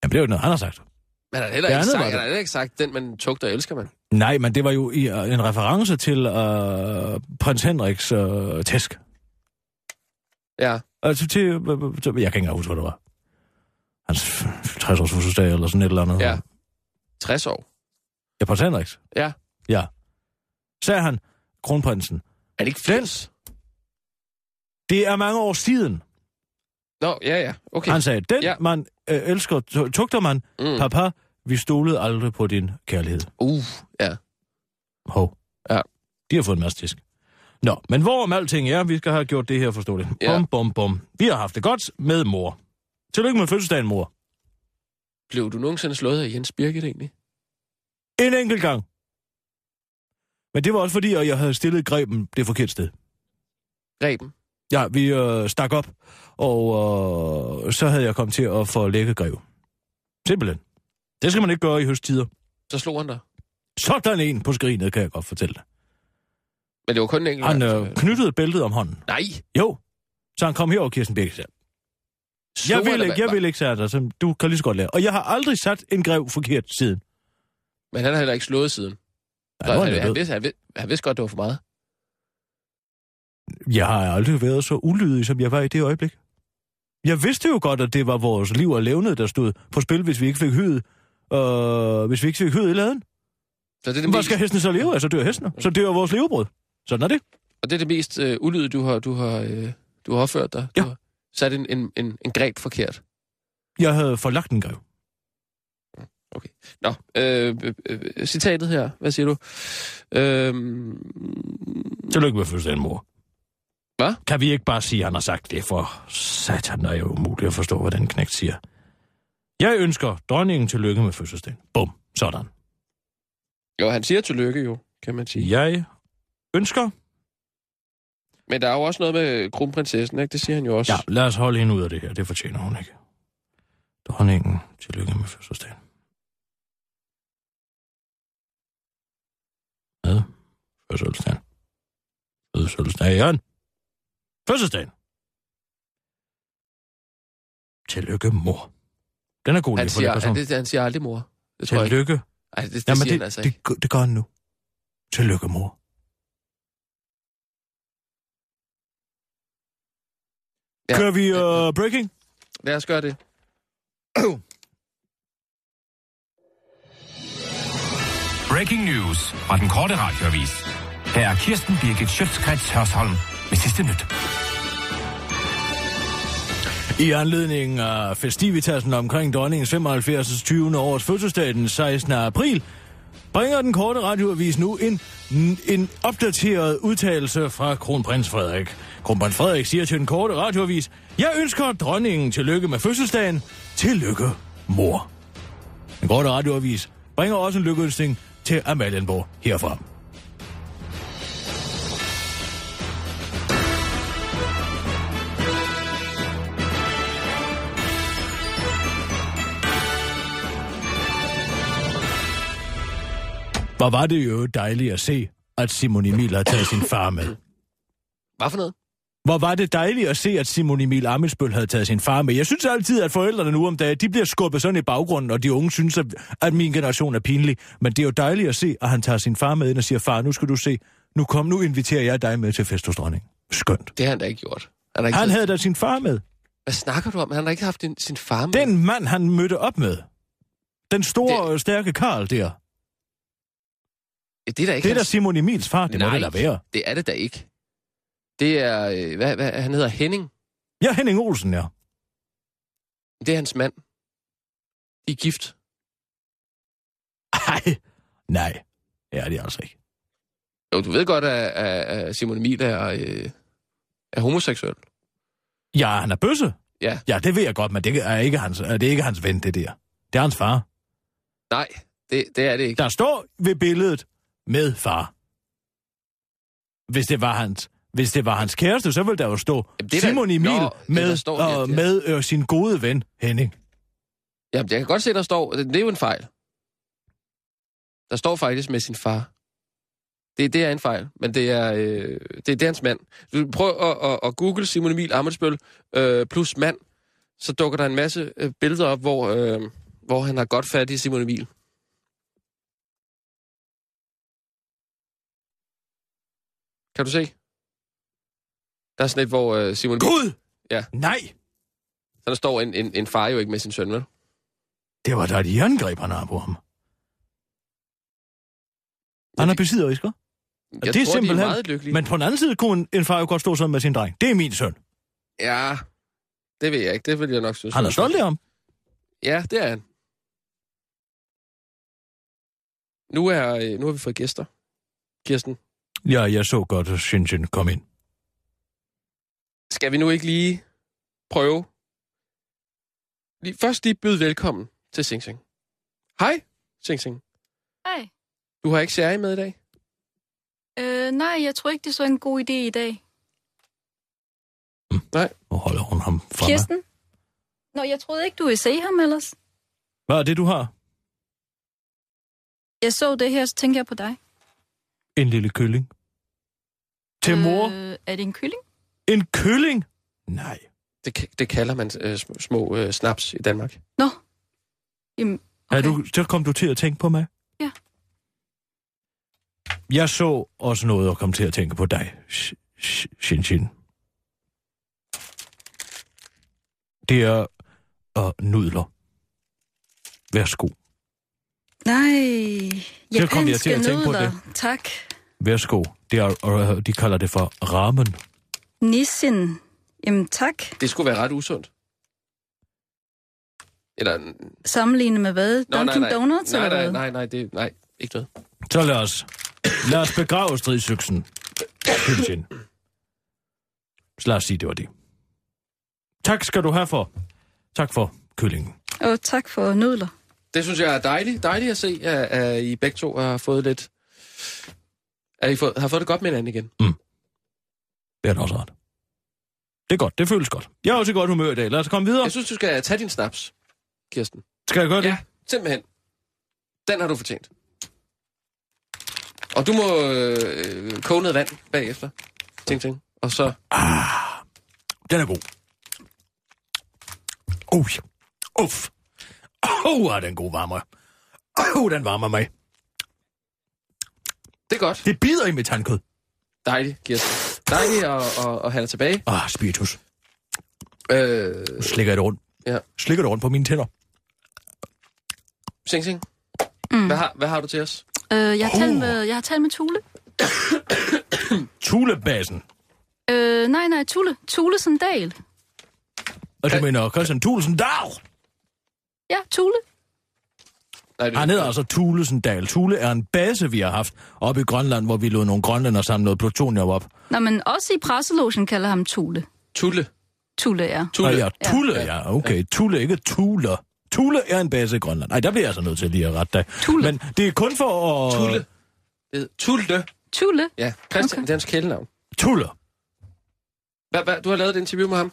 Jamen, det er jo noget, han har sagt. Men han har heller Det ikke andet sagt, var han det. har heller ikke sagt, den man tugter elsker man. Nej, men det var jo i, øh, en reference til øh, prins Henriks øh, tæsk. Ja, Altså til, øh, øh, til... Jeg kan ikke engang huske, hvad det var. Hans f- 60-års fødselsdag eller sådan et eller andet. ja. 60 år. Ja, prins Henriks. Ja. Ja. Sagde han, kronprinsen. Er det ikke Flens? Det er mange år siden. Nå, ja, ja. Okay. Okay. Han sagde, den Ja. ja. man øh, elsker, tu- tugter man. Mm. Mm. Papa, vi stolede aldrig på din kærlighed. Uh, ja. Hov. Ja. De har fået en masse tisk. Nå, men hvorom alting er, vi skal have gjort det her forståeligt. Ja. Ja. Bum, bum, bum. Vi har haft det godt med mor. Tillykke med fødselsdagen, mor. Blev du nogensinde slået af Jens Birgit egentlig? En enkelt gang. Men det var også fordi, at jeg havde stillet greben det forkerte sted. Reben? Ja, vi øh, stak op, og øh, så havde jeg kommet til at få lækket greb. Simpelthen. Det skal man ikke gøre i høsttider. Så slog han dig. Sådan en på skrinet, kan jeg godt fortælle dig. Men det var kun en enkelt Han gang, øh, så- knyttede bæltet om hånden. Nej. Jo. Så han kom herover, Kirsten Birke. sagde, Slog Jeg vil eller ikke, hvad? jeg vil ikke sætte dig, som du kan lige så godt lære. Og jeg har aldrig sat en grev forkert siden. Men han har heller ikke slået siden. Nej, nu er han, han jo han, død. vidste, han, vidste, han vidste godt, det var for meget. Jeg har aldrig været så ulydig, som jeg var i det øjeblik. Jeg vidste jo godt, at det var vores liv og levned, der stod på spil, hvis vi ikke fik hyet. Øh, hvis vi ikke fik hyet i laden. Så det er det Jamen, Hvad mest, skal hesten så leve af? Så dør hesten. Så dør vores levebrød. Sådan er det. Og det er det mest øh, ulyde, du har, du har, øh, du har opført dig. Ja. Du har sat en, en, en, en greb forkert. Jeg havde forlagt en grev. Nå, øh, øh, øh, citatet her. Hvad siger du? Øh, Tillykke med fødselsdagen, mor. Hvad? Kan vi ikke bare sige, at han har sagt det, for satan er jo umuligt at forstå, hvad den knægt siger. Jeg ønsker dronningen tillykke med fødselsdagen. Bum. Sådan. jo, han siger tillykke jo, kan man sige. Jeg ønsker... Men der er jo også noget med kronprinsessen, ikke? Det siger han jo også. Ja, lad os holde hende ud af det her. Det fortjener hun ikke. Dronningen, tillykke med fødselsdagen. Hvad? Fødselsdagen. Fødselsdagen. Fødselsdagen. Tillykke, mor. Den er god han, lige for siger, den person. han, det, han siger aldrig mor. Det tror jeg ikke. Tillykke. Ej, det, det, det Jamen, siger han altså ikke. det, gør- det gør han nu. Tillykke, mor. Ja. Ja. Kører vi Ja, ja. uh, breaking? Lad os gøre det. Breaking news fra den korte radioavis. Her er Kirsten Birgit Schøtzgrads Hørsholm med sidste nyt. I anledning af festivitasen omkring dronningens 75. 20. års fødselsdag den 16. april, bringer den korte radioavis nu en, en opdateret udtalelse fra kronprins Frederik. Kronprins Frederik siger til den korte radioavis, Jeg ønsker dronningen tillykke med fødselsdagen. Tillykke, mor. Den korte radioavis bringer også en lykkeønsning til Amalienborg herfra. Hvor var det jo dejligt at se, at Simon Emil har taget sin far med. Hvad for noget? Hvor var det dejligt at se, at Simon Emil Amitsbøl havde taget sin far med. Jeg synes altid, at forældrene nu om dagen, de bliver skubbet sådan i baggrunden, og de unge synes, at, at min generation er pinlig. Men det er jo dejligt at se, at han tager sin far med ind og siger, far, nu skal du se, nu kom, nu inviterer jeg dig med til fest hos dronning. Skønt. Det har han da ikke gjort. Han, har ikke Han taget- havde da sin far med. Hvad snakker du om? Han har ikke haft din, sin far med. Den mand, han mødte op med. Den store, det... stærke Karl der. Ja, det er da ikke Det er da hans- Simon Emils far, det Nej. må Nej. det da være. Det er det da ikke. Det er, øh, hvad, hvad, han hedder Henning. Ja, Henning Olsen, ja. Det er hans mand. I er gift. Ej. Nej. Ja, det er altså ikke. Jo, du ved godt, at, at- at Simon Emil er, øh, er homoseksuel. Ja, han er bøsse. Ja. Ja, det ved jeg godt, men det er ikke hans, det er ikke hans ven, det der. Det er hans far. Nej, det, det er det ikke. Der står ved billedet med far. Hvis det var hans, hvis det var hans kæreste, så ville der jo stå Jamen, Jamen, det er da- Simon Emil Nå, det, med, der står, ja, og det er- med øh, sin gode ven Henning. Jamen, jeg kan godt se, der står... Det er jo en fejl. Der står faktisk med sin far. Det, det er en fejl, men det er, øh, det, det er hans mand. Du prøv at, at, at google Simon Emil Amitsbøl øh, plus mand, så dukker der en masse øh, billeder op, hvor, øh, hvor han har godt fat i Simon Emil. Kan du se? Der er sådan et, hvor øh, Simon Emil... Gud! Ja. Nej! Så der står en, en, en far jo ikke med sin søn, vel? Det var da et jerngreb, han har på ham. Han er besidderisker. Jeg det er tror, de simpelthen- er meget lykkelige. Men på den anden side kunne en- en far jo godt stå sådan med sin dreng. Det er min søn. Ja, det ved jeg ikke. Det vil jeg nok synes. Han er stolt af ham. Ja, det er han. Nu, er, øh, nu har vi fået gæster. Kirsten, Ja, jeg så godt, at Shinjin kom ind. skal vi nu ikke lige prøve? Lige, først lige byde velkommen til Sing Sing. Hej, Sing Sing. Hej. Du har ikke særlig med i dag? Øh, nej, jeg tror ikke, det er så en god idé i dag. Nu holder hun ham fra mig. Kirsten? Nå, jeg troede ikke, du ville se ham ellers. Hvad er det, du har? Jeg så det her, så tænker jeg på dig. En lille kylling. Til mor? Øh, er det en kylling? En kylling? Nej. Det, ka- det kalder man øh, sm- små øh, snaps i Danmark. Nå. Jamen, Okay. Er okay. du, så kom du til at tænke på mig? Ja. Jeg så også noget og kom til at tænke på dig, Sh- Sh- Shin Shin. Det er og nudler. Værsgo. Nej, Så kom jeg til japanske at tænke på nudler. Tak. Værsgo. Det er, og de kalder det for ramen. Nissin. Jamen tak. Det skulle være ret usundt. Eller... Nå, Sammenlignet med hvad? nej, Dunkin' nej. Donuts nej, eller nej, hvad? nej, nej, det, nej, ikke noget. Så lad os, lad os begrave stridsøksen. Shin Shin. Så lad os sige, det var det. Tak skal du have for. Tak for kyllingen. Og tak for nudler. Det synes jeg er dejligt, dejligt at se, at, at I begge to har fået lidt... At I få, har fået det godt med hinanden igen. Det er da også rart. Det er godt. Det føles godt. Jeg er også i godt humør i dag. Lad os komme videre. Jeg synes, du skal tage din snaps, Kirsten. Skal jeg gøre det? Ja, simpelthen. Den har du fortjent. Og du må øh, koge noget vand bagefter. Ting, ting. Og så... Den er god. Oh, uff. Åh, oh, den god varmer. Åh, oh, den varmer mig. Det er godt. Det bider i mit tandkød. Dejligt, Kirsten. Dejligt at, at, at have dig tilbage. Ah, spiritus. Øh, Nu slikker jeg det rundt. Ja. Slikker det rundt på mine tænder. sing, sing. Mm. Hvad, har, hvad har du til os? Øh, jeg, har talt Oh. med, jeg har talt med Tule. Tulebasen. Øh, nej, nej, Tule. Tule Sandal. Og du Øh. mener Christian Tulsendal? Ja, Tule. Nej, det, Han hedder altså Tulesendal. Tule er en base, vi har haft oppe i Grønland, hvor vi lod nogle grønlænder samle noget plutonium op. Nå, men også i presselogen kalder ham Tule. Tulle. Tule, ja. Tulle. Nå, ja, Tule, ja, okay. Tule, ikke Tule. Tule er en base i Grønland. Nej, der bliver jeg altså nødt til lige at rette dig. Tule. Men det er kun for at... Tulle. Det hedder Tulle. Tule. Ja, Christian, okay. det er hans kælenavn. Tulle. Hvad, hvad, du har lavet et interview med ham?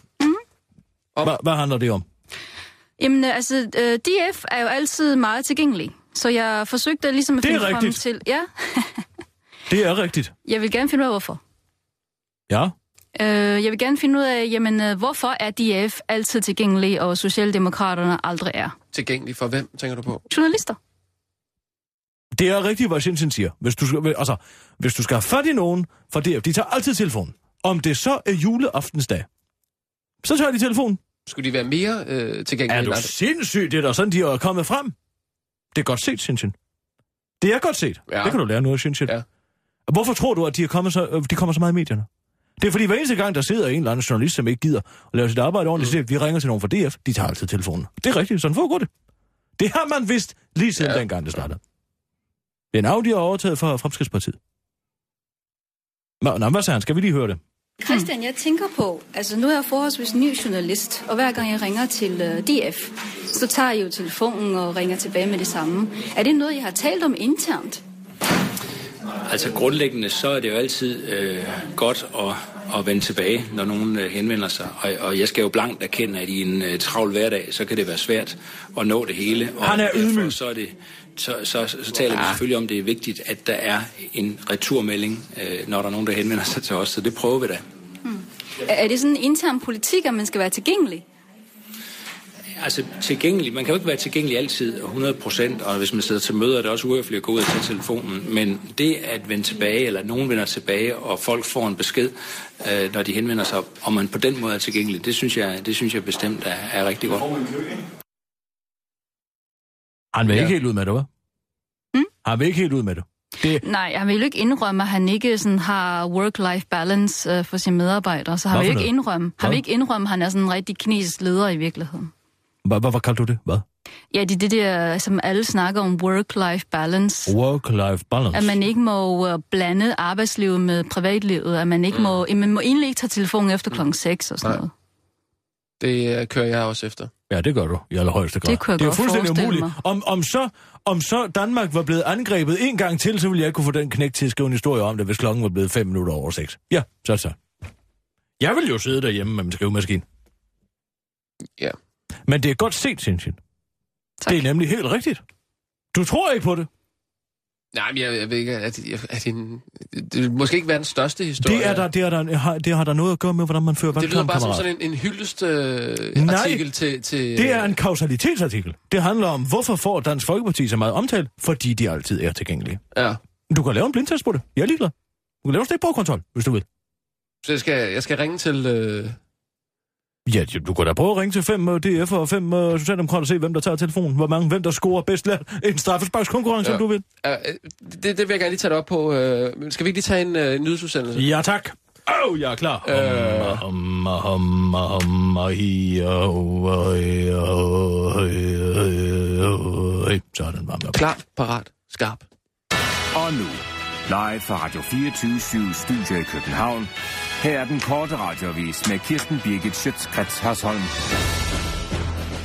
Hva, hvad handler det om? Jamen, øh, altså, øh, DF er jo altid meget tilgængelig. Så jeg forsøgte ligesom at Det er finde frem rigtigt. til... Ja, Det er rigtigt. jeg vil gerne finde ud af, hvorfor. Ja. Øh, jeg vil gerne finde ud af, jamen, øh, hvorfor er DF altid tilgængelig, og Socialdemokraterne aldrig er? Tilgængelig for hvem, tænker du på? Journalister. Det er rigtigt, hvad Sinsen siger. Hvis du, skal, altså, hvis du skal have fat i nogen fra DF, de tager altid telefonen. Om det så er juleaftensdag, så tager de telefonen. Skulle de være mere øh, tilgængelige? Er du end andre? sindssyg, det er da sådan, de er kommet frem? Det er godt set, Sinsen. Det er godt set. Ja. Ja. Det kan du lære noget af, Sinsen. Ja. Ja. Hvorfor tror du, at de, er kommet så, øh, de kommer så meget i medierne? Det er fordi, hver eneste gang, der sidder en eller anden journalist, som ikke gider at lave sit arbejde ordentligt, mm. siger, vi ringer til nogen fra DF, de tager altid telefonen. Det er rigtigt, sådan foregår det. Det har man vidst lige siden Ja. ja. dengang, det startede. Det er en Audi, der er overtaget fra Fremskridspartiet. Nå, nå, hvad sagde han? Skal vi lige høre det? Christian, jeg tænker på, altså nu er jeg forholdsvis ny journalist, og hver gang jeg ringer til øh, DF, så tager jeg jo telefonen og ringer tilbage med det samme. Er det noget, jeg har talt om internt? Altså grundlæggende, så er det jo altid øh, godt at, at vende tilbage, når nogen øh, henvender sig. Og, og jeg skal jo blankt erkende, at i en øh, travl hverdag, så kan det være svært at nå det hele. Og Han er derfor ydmyg. Så, er det, så, så, så, så taler vi selvfølgelig om, at det er vigtigt, at der er en returmelding, øh, når der er nogen, der henvender sig til os. Så det prøver vi da. Er, er det sådan en intern politik, at man skal være tilgængelig? Altså tilgængelig, man kan jo ikke være tilgængelig altid og 100 procent, og hvis man sidder til møder, er det også uhøfligt at gå ud og tage telefonen. Men det at vende tilbage, eller at nogen vender tilbage, og folk får en besked, øh, når de henvender sig, og man på den måde er tilgængelig, det synes jeg, det synes jeg bestemt er, er rigtig godt. Han vil ja. Ja. ikke helt ud med det, hva'? Mm? Han vil ikke helt ud med det. det Nej, han vil jo ikke indrømme, at han ikke sådan har work-life balance øh, for sine medarbejdere. Så han Hvad vil jo for ikke noget? indrømme, han Hvad? vil ikke indrømme, at han er sådan en rigtig kinesisk leder i virkeligheden. hvad, hvad, hvad kaldte du det? Hvad? Ja, det er det der, som alle snakker om, work-life balance. Work-life balance. At man ikke må øh, blande arbejdslivet med privatlivet. At Mm. man ikke må, man må egentlig ikke tage telefonen efter klokken 6 og sådan Nej. noget. Det øh, kører jeg også efter. Ja, det gør du i allerhøjeste grad. Det kunne jeg det er godt jo fuldstændig forestille umuligt. mig. Om, om, så, om så Danmark var blevet angrebet en gang til, så ville jeg ikke kunne få den knæk til at skrive en historie om det, hvis klokken var blevet 5 minutter over 6. Ja, så så. Jeg vil jo sidde derhjemme med min skrivemaskine. Ja. Men det er godt set, Sintin. Tak. Det er nemlig helt rigtigt. Du tror ikke på det. Nej, men jeg, jeg ved ikke, er det, er det, en, det vil måske ikke være den største historie. Det, er der, det, er der, har, det har der noget at gøre med, hvordan man fører det lyder valgkamp, bare som kammerat. sådan en, en hyldest øh, Nej, artikel til, til... øh, Det er en kausalitetsartikel. Det handler om, hvorfor får Dansk Folkeparti så meget omtale? Fordi de altid er tilgængelige. Ja. Du kan lave en blindtest på det. Jeg er ligeglad. Du kan lave en stikprøvekontrol, hvis du vil. Så jeg skal, jeg skal ringe til... Øh, Ja, du kan da prøve at ringe til fem øh, DF og fem uh, Socialdemokrater og se, hvem der tager telefonen. Hvor mange, hvem der scorer bedst lavet en straffesparkskonkurrence, Ja. ja. om du vil. øh, det, det vil jeg gerne lige tage det op på. Øh, men skal vi ikke lige tage en øh, nyhedsudsendelse? Ja, tak. Åh, oh, jeg er klar. Øh. Hum, hum, hum, hum, ah, hi, oh, ah, hi, oh, hi, oh, hi. Sådan var det. Klar, parat, skarp. Og nu, live fra Radio 24 Studio i København. Her er den korte radiovis med Kirsten Birgit Schøtzgrads Hasholm.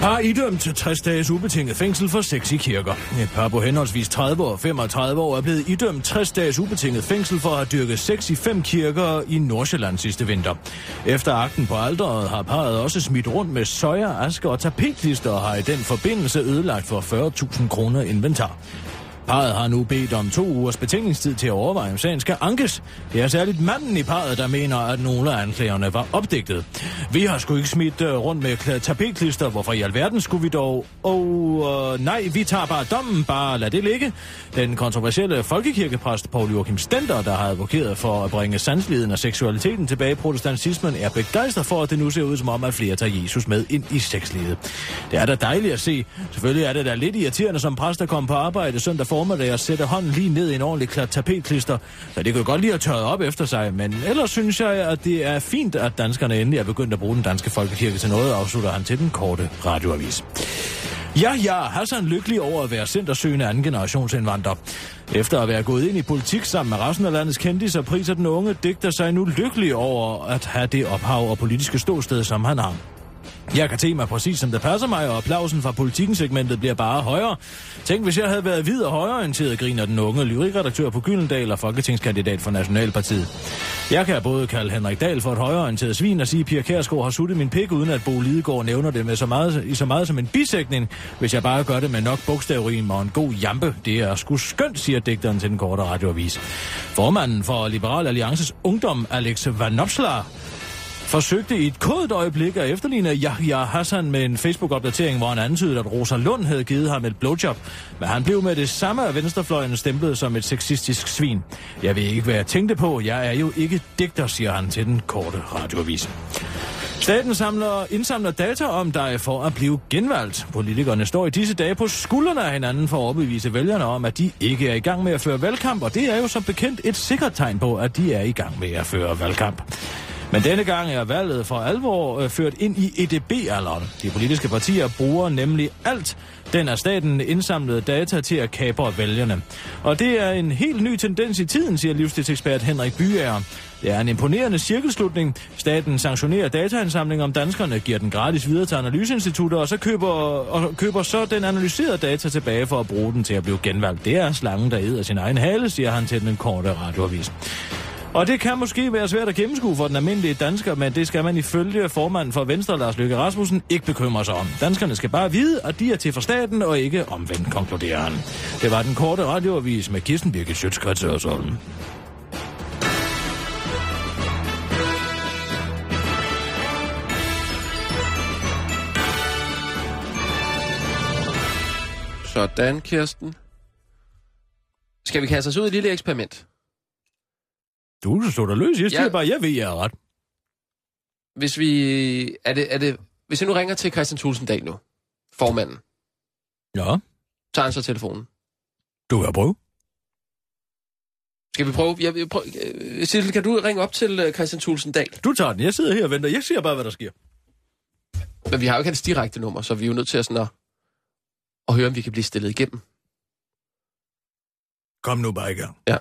Par idømt til 60 dages ubetinget fængsel for sex i kirker. Et par på henholdsvis 30 og 35 år er blevet idømt 60 dages ubetinget fængsel for at have dyrket sex i fem kirker i Nordsjælland sidste vinter. Efter akten på alderet har parret også smidt rundt med søjer, aske og tapetlister og har i den forbindelse ødelagt for 40.000 kroner inventar. Parret har nu bedt om to ugers betingningstid til at overveje, om sagen skal ankes. Det er særligt manden i parret, der mener, at nogle af anklagerne var opdigtet. Vi har sgu ikke smidt øh, rundt med kla- tapetklister, hvorfor i alverden skulle vi dog? Og øh, nej, vi tager bare dommen, bare lad det ligge. Den kontroversielle folkekirkepræst Paul Joachim Stender, der har advokeret for at bringe sansliden og seksualiteten tilbage i protestantismen, er begejstret for, at det nu ser ud som om, at flere tager Jesus med ind i sexlivet. Det er da dejligt at se. Selvfølgelig er det da lidt irriterende som præst at komme på arbejde søndag formiddag og sætte hånden lige ned i en ordentlig klat tapetklister. Så det kan jo godt lige at tørre op efter sig, men ellers synes jeg, at det er fint, at danskerne endelig er begyndt at bruge den danske folkekirke til noget, afslutter han til den korte radioavis. Ja, ja, Hassan lykkelig over at være centersøgende anden generations indvandrer. Efter at være gået ind i politik sammen med resten af landets kendtiser, priser den unge digter sig nu lykkelig over at have det ophav og politiske ståsted, som han har. Jeg kan te mig præcis, som det passer mig, og applausen fra politikken-segmentet bliver bare højere. Tænk, hvis jeg havde været hvid og højreorienteret, griner den unge lyrikredaktør på Gyldendal og folketingskandidat for Nationalpartiet. Jeg kan både kalde Henrik Dahl for et højreorienteret svin og sige, at Pia Kærsgaard har suttet min pik, uden at Bo Lidegaard nævner det med så meget, i så meget som en bisætning, hvis jeg bare gør det med nok bogstavrim og en god jampe. Det er sgu skønt, siger digteren til den korte radioavis. Formanden for Liberal Alliances Ungdom, Alex Vanopslagh, forsøgte i et kodet øjeblik at efterligne Yahya Hassan med en Facebook-opdatering, hvor han antydede, at Rosa Lund havde givet ham et blowjob. Men han blev med det samme af venstrefløjen stemplet som et sexistisk svin. Jeg ved ikke, hvad jeg tænkte på. Jeg er jo ikke digter, siger han til den korte radioavis. Staten samler, indsamler data om dig for at blive genvalgt. Politikerne står i disse dage på skuldrene af hinanden for at overbevise vælgerne om, at de ikke er i gang med at føre valgkamp, og det er jo som bekendt et sikkert tegn på, at de er i gang med at føre valgkamp. Men denne gang er valget for alvor øh, ført ind i EDB-alderen. De politiske partier bruger nemlig alt den af staten indsamlede data til at kapre vælgerne. Og det er en helt ny tendens i tiden, siger livsstilsekspert Henrik Byager. Det er en imponerende cirkelslutning. Staten sanktionerer dataindsamling om danskerne, giver den gratis videre til analyseinstitutter, og så køber, og køber så den analyserede data tilbage for at bruge den til at blive genvalgt. Det er slangen, der æder sin egen hale, siger han til den korte radioavis. Og det kan måske være svært at gennemskue for den almindelige dansker, men det skal man ifølge formanden for Venstre, Lars Løkke Rasmussen, ikke bekymre sig om. Danskerne skal bare vide, at de er til for staten og ikke omvendt, konkluderer han. Det var den korte radioavis med Kirsten Birgit Sjøtskrets Hørsholm. Sådan, Kirsten. Skal vi kaste os ud i et lille eksperiment? Du kan slå dig løs. Jeg siger Ja. bare, jeg ved, jeg er ret. Hvis vi... Er det, er det, hvis jeg nu ringer til Christian Thulsen Dahl nu, formanden, Ja, tager han så telefonen. du kan prøve. Skal vi prøve? Jeg, jeg prøve øh, Sissel, kan du ringe op til øh, Christian Thulsen Dahl? Du tager den. Jeg sidder her og venter. Jeg siger bare, hvad der sker. Men vi har jo ikke hans direkte nummer, så vi er jo nødt til at, sådan at, at høre, om vi kan blive stillet igennem. Kom nu bare i gang. Øh,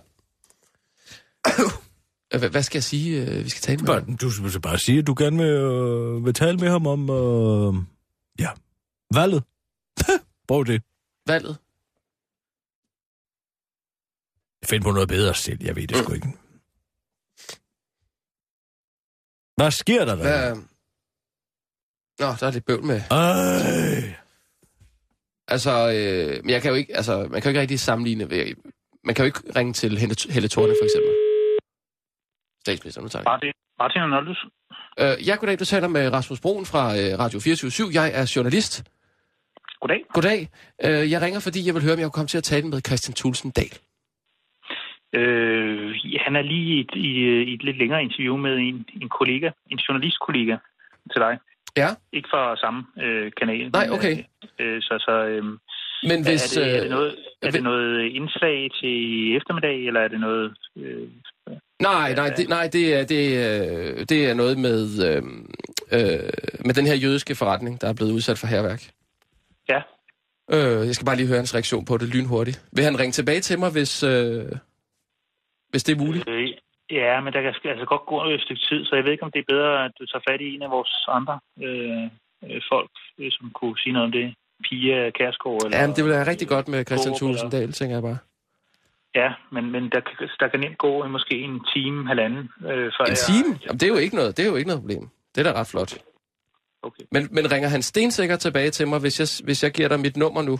Hvad, hvad skal jeg sige, øh, vi skal tale med? ham? Bare, du skal bare sige, at du gerne vil, øh, vil tale med ham om... Øh, ja, valget. Prøv det. Valget. Find på noget bedre selv, jeg ved det sgu ikke. Hvad sker der der? Hvad? øh, Nå, der er lidt bøvl med. Ej, Altså, øh, men jeg kan jo ikke, altså, man kan jo ikke rigtig sammenligne. ved- Man kan jo ikke ringe til Helle, Helle Thorne, for eksempel. Statsminister, nu tager jeg. Martin, Martin Arnoldus. den. Øh, jeg goddag, du taler med Rasmus Broen fra øh, Radio 24 Jeg er journalist. Goddag. Goddag. Øh, jeg ringer, fordi jeg vil høre, om jeg kunne komme til at tale med Christian Thulsen Dahl. Øh, han er lige i et, i, øh, i et lidt længere interview med en, en kollega, en journalistkollega til dig. Ja, Ikke fra samme øh, kanal. Nej, men, okay. Øh, øh, så så øh, men hvis... er, det, er, øh, det noget, er hvis- det noget indslag til eftermiddag, eller er det noget... Øh, Nej, nej, det, nej det, er, det, er, det er noget med, øh, øh, med den her jødiske forretning, der er blevet udsat for herværk. ja, Øh, jeg skal bare lige høre hans reaktion på det lynhurtigt. Vil han ringe tilbage til mig, hvis, øh, hvis det er muligt? øh, ja, men der kan sk- altså godt gå et stykke tid, så jeg ved ikke, om det er bedre, at du tager fat i en af vores andre øh, øh, folk, øh, som kunne sige noget om det. Pia Kærsgaard. Eller, Ja, men det vil være rigtig godt med Christian Borup, eller- Thulesen Dahl, tænker jeg bare. Ja, men, men der, kan- der kan nemt gå øh, måske en time, halvanden. Øh, før En time? Jamen, det er jo ikke noget, det er jo ikke noget problem. Det er da ret flot. Okay. Men, men ringer han stensikkert tilbage til mig, hvis jeg, hvis jeg giver dig mit nummer nu?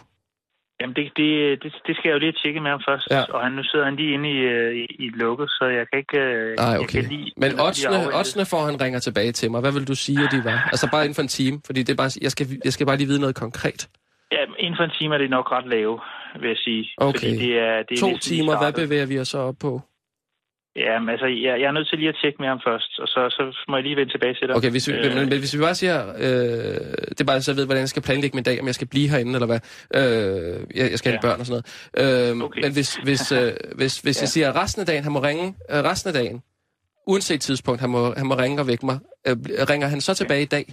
Jamen, det, det, det, det skal jeg jo lige tjekke med ham først. Ja. Ja. Og han, nu sidder han lige inde i, øh, i, i lukket, så jeg kan ikke... øh, Nej, jeg okay. kan lige, jeg Men kan lige oddsene, afvente. oddsene for, at han ringer tilbage til mig, hvad vil du sige, at de var? Altså bare inden for en time, fordi det er bare, jeg, skal, jeg skal bare lige vide noget konkret. Ja, men inden for en time er det nok ret lave, vil jeg sige. Okay. Fordi det er, det er To næsten lige timer, hvad startet. bevæger vi os så op på? Jamen, altså, jeg, jeg er nødt til lige at tjekke med ham først, og så, så må jeg lige vende tilbage til dig. Øh, Okay, hvis vi, men, men hvis vi bare siger, øh, det er bare så jeg ved, hvordan jeg skal planlægge min dag, om jeg skal blive herinde, eller hvad, øh, jeg, jeg skal have Ja. børn og sådan noget. Øh, okay. Okay. Men hvis, hvis, øh, hvis, hvis ja. jeg siger, at resten af dagen, han må ringe, øh, resten af dagen, uanset tidspunkt, han må, han må ringe og vække mig, øh, ringer han så tilbage i dag?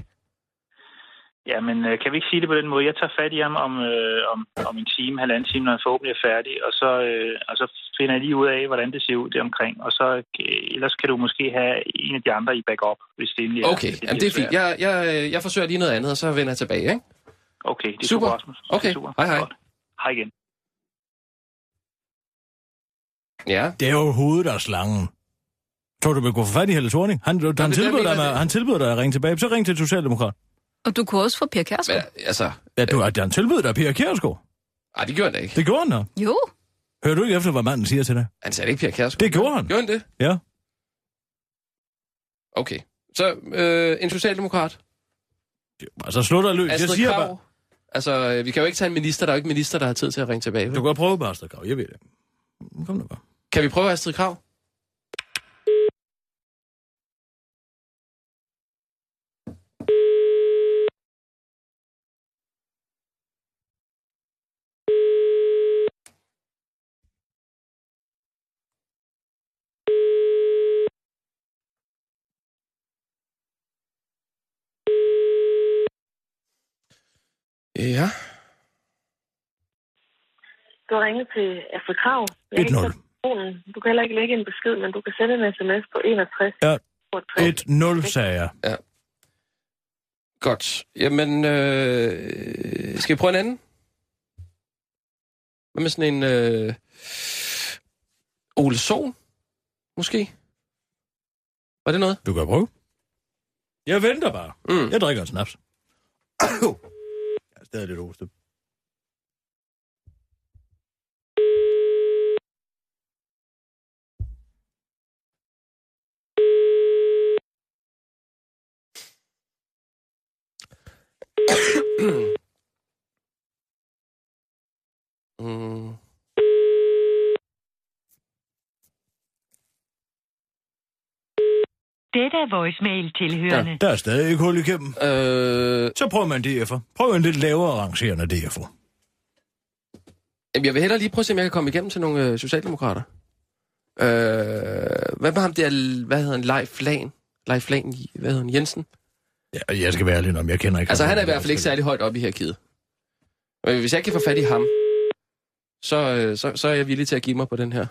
Ja, men øh, kan vi ikke sige det på den måde? Jeg tager fat i ham om, øh, om, om en time, halvanden time, når han forhåbentlig er færdig, og så, øh, og så finder jeg lige ud af, hvordan det ser ud deromkring. Og så, øh, ellers kan du måske have en af de andre i backup, hvis det endelig Okay, er. jamen det er fint. Jeg, jeg, øh, jeg forsøger lige noget andet, og så vender jeg tilbage, ikke? Okay, det er Super. super, Rasmus. Det er Okay, super. hej, hej. Godt. Hej igen. Ja. Det er jo hovedet af slangen. Tror du, man kunne få fat i Helle Thorning? Han, han, jeg tilbød dig, mener, med- det- han tilbød dig at ringe tilbage. Så ring til Socialdemokrat. Og du kunne også få Pia Men, Kærsgaard. altså, Ja, du, at han tilbød dig Pia Kjærsgaard. nej, det gjorde han da ikke. Det gjorde han da. Jo, Hører du ikke efter, hvad manden siger til dig? Han sagde ikke Pia Kjærsgaard. Det gjorde han. Gjorde han det? Ja. Okay. Så øh, en socialdemokrat. Altså, slå dig løs. Jeg Astrid siger Krag. bare... Altså, øh, vi kan jo ikke tage en minister. Der er jo ikke en minister, der har tid til at ringe tilbage. Du kan godt prøve, Astrid Krav. Jeg ved det. Kom nu bare. Kan vi prøve Astrid Krav? Ja. Du har ringet til Astrid Krav. 1-0. Du kan heller ikke lægge en besked, men du kan sende en sms på 61. Ja. 62. 1-0, sagde jeg. Godt. Jamen, øh, skal vi prøve en anden? Hvad med sådan en... Øh, Ole Sohn, måske? Var det noget? Du kan prøve. Jeg venter bare. Mm. Jeg drikker en snaps. jeg er stadig lidt hoste. Mm. Dette er voicemail tilhørende. Der er stadig ikke hul igennem. Øh, Så prøver man DF'er. Prøv en lidt lavere rangerende DF'er. jamen, jeg vil hellere lige prøve at se, om jeg kan komme igennem til nogle øh, socialdemokrater. Øh, hvad med ham der, hvad hedder han, Leif Lahn? Leif Lahn, hvad hedder han, Jensen? Ja, jeg skal være ærlig om, jeg kender ikke Altså, ham. han er i hvert fald ikke særlig højt oppe i her kide. Men hvis jeg kan få fat i ham, så, øh, så, så er jeg villig til at give mig på den her.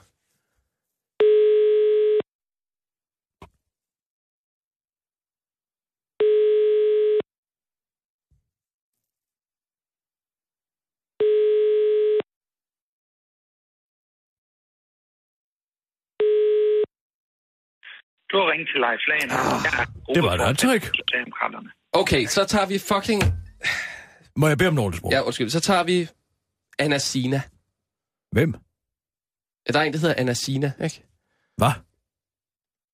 Du har ringet til Leif Lahn. Ah, Det var da et trick. Socialdemokraterne. Okay, så tager vi fucking... Må jeg bede om nogle sprog? Ja, undskyld. Så tager vi Anna Sina. Hvem? Der er en, der hedder Anna Sina, ikke? Hvad?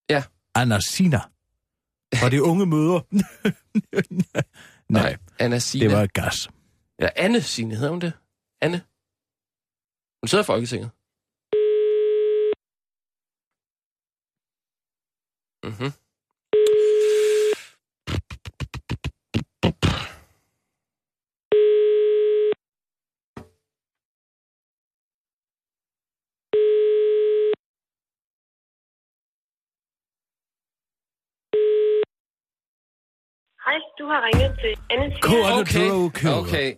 Ja. Anna Sina. Var det unge møder? Nej, Anna Sina. det var et gas. Ja, Anne Sine hedder hun det. Anne. Hun sidder i Folketinget. Mhm. Hej, du har ringet til Anne Sina. Kort. Okay. Anne Drog Køller. okay.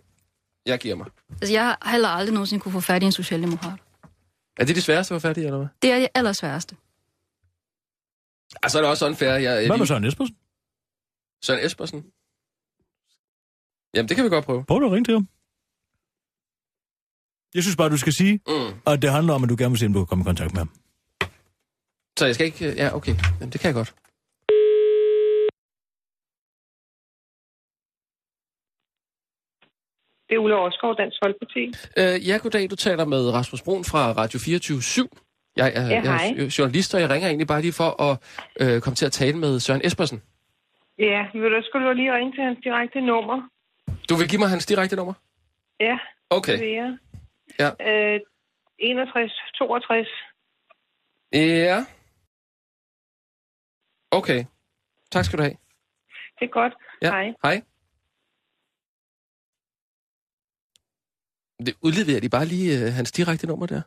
Jeg giver mig. altså jeg har heller aldrig nogensinde kunne få fat i en socialdemokrat. Er det det sværeste at være færdig, eller hvad? Det er det allersværeste. Ah, så er det også unfair. Jeg, Hvad med lige- Søren Espersen? Søren Espersen. Jamen, det kan vi godt prøve. Prøv du at ringe til ham. Jeg synes bare, du skal sige, Mm. at det handler om, at du gerne vil se, om du kan komme i kontakt med ham. Så jeg skal ikke... Ja, okay. Jamen, det kan jeg godt. Det er Ulla Orskov, Dansk Folkeparti. Øh, ja, goddag. Du taler med Rasmus Brun fra Radio 24 jeg er, Ja, jeg hej. er journalist, og jeg ringer egentlig bare lige for at øh, komme til at tale med Søren Espersen. Ja, vil du skulle du lige ringe til hans direkte nummer? Du vil give mig hans direkte nummer? Ja, Okay. det vil jeg. Ja. Øh, 61, 62. Ja. Okay. Tak skal du have. Det er godt. Ja. Hej. Hej. Det udleverer de bare lige øh, hans direkte nummer der.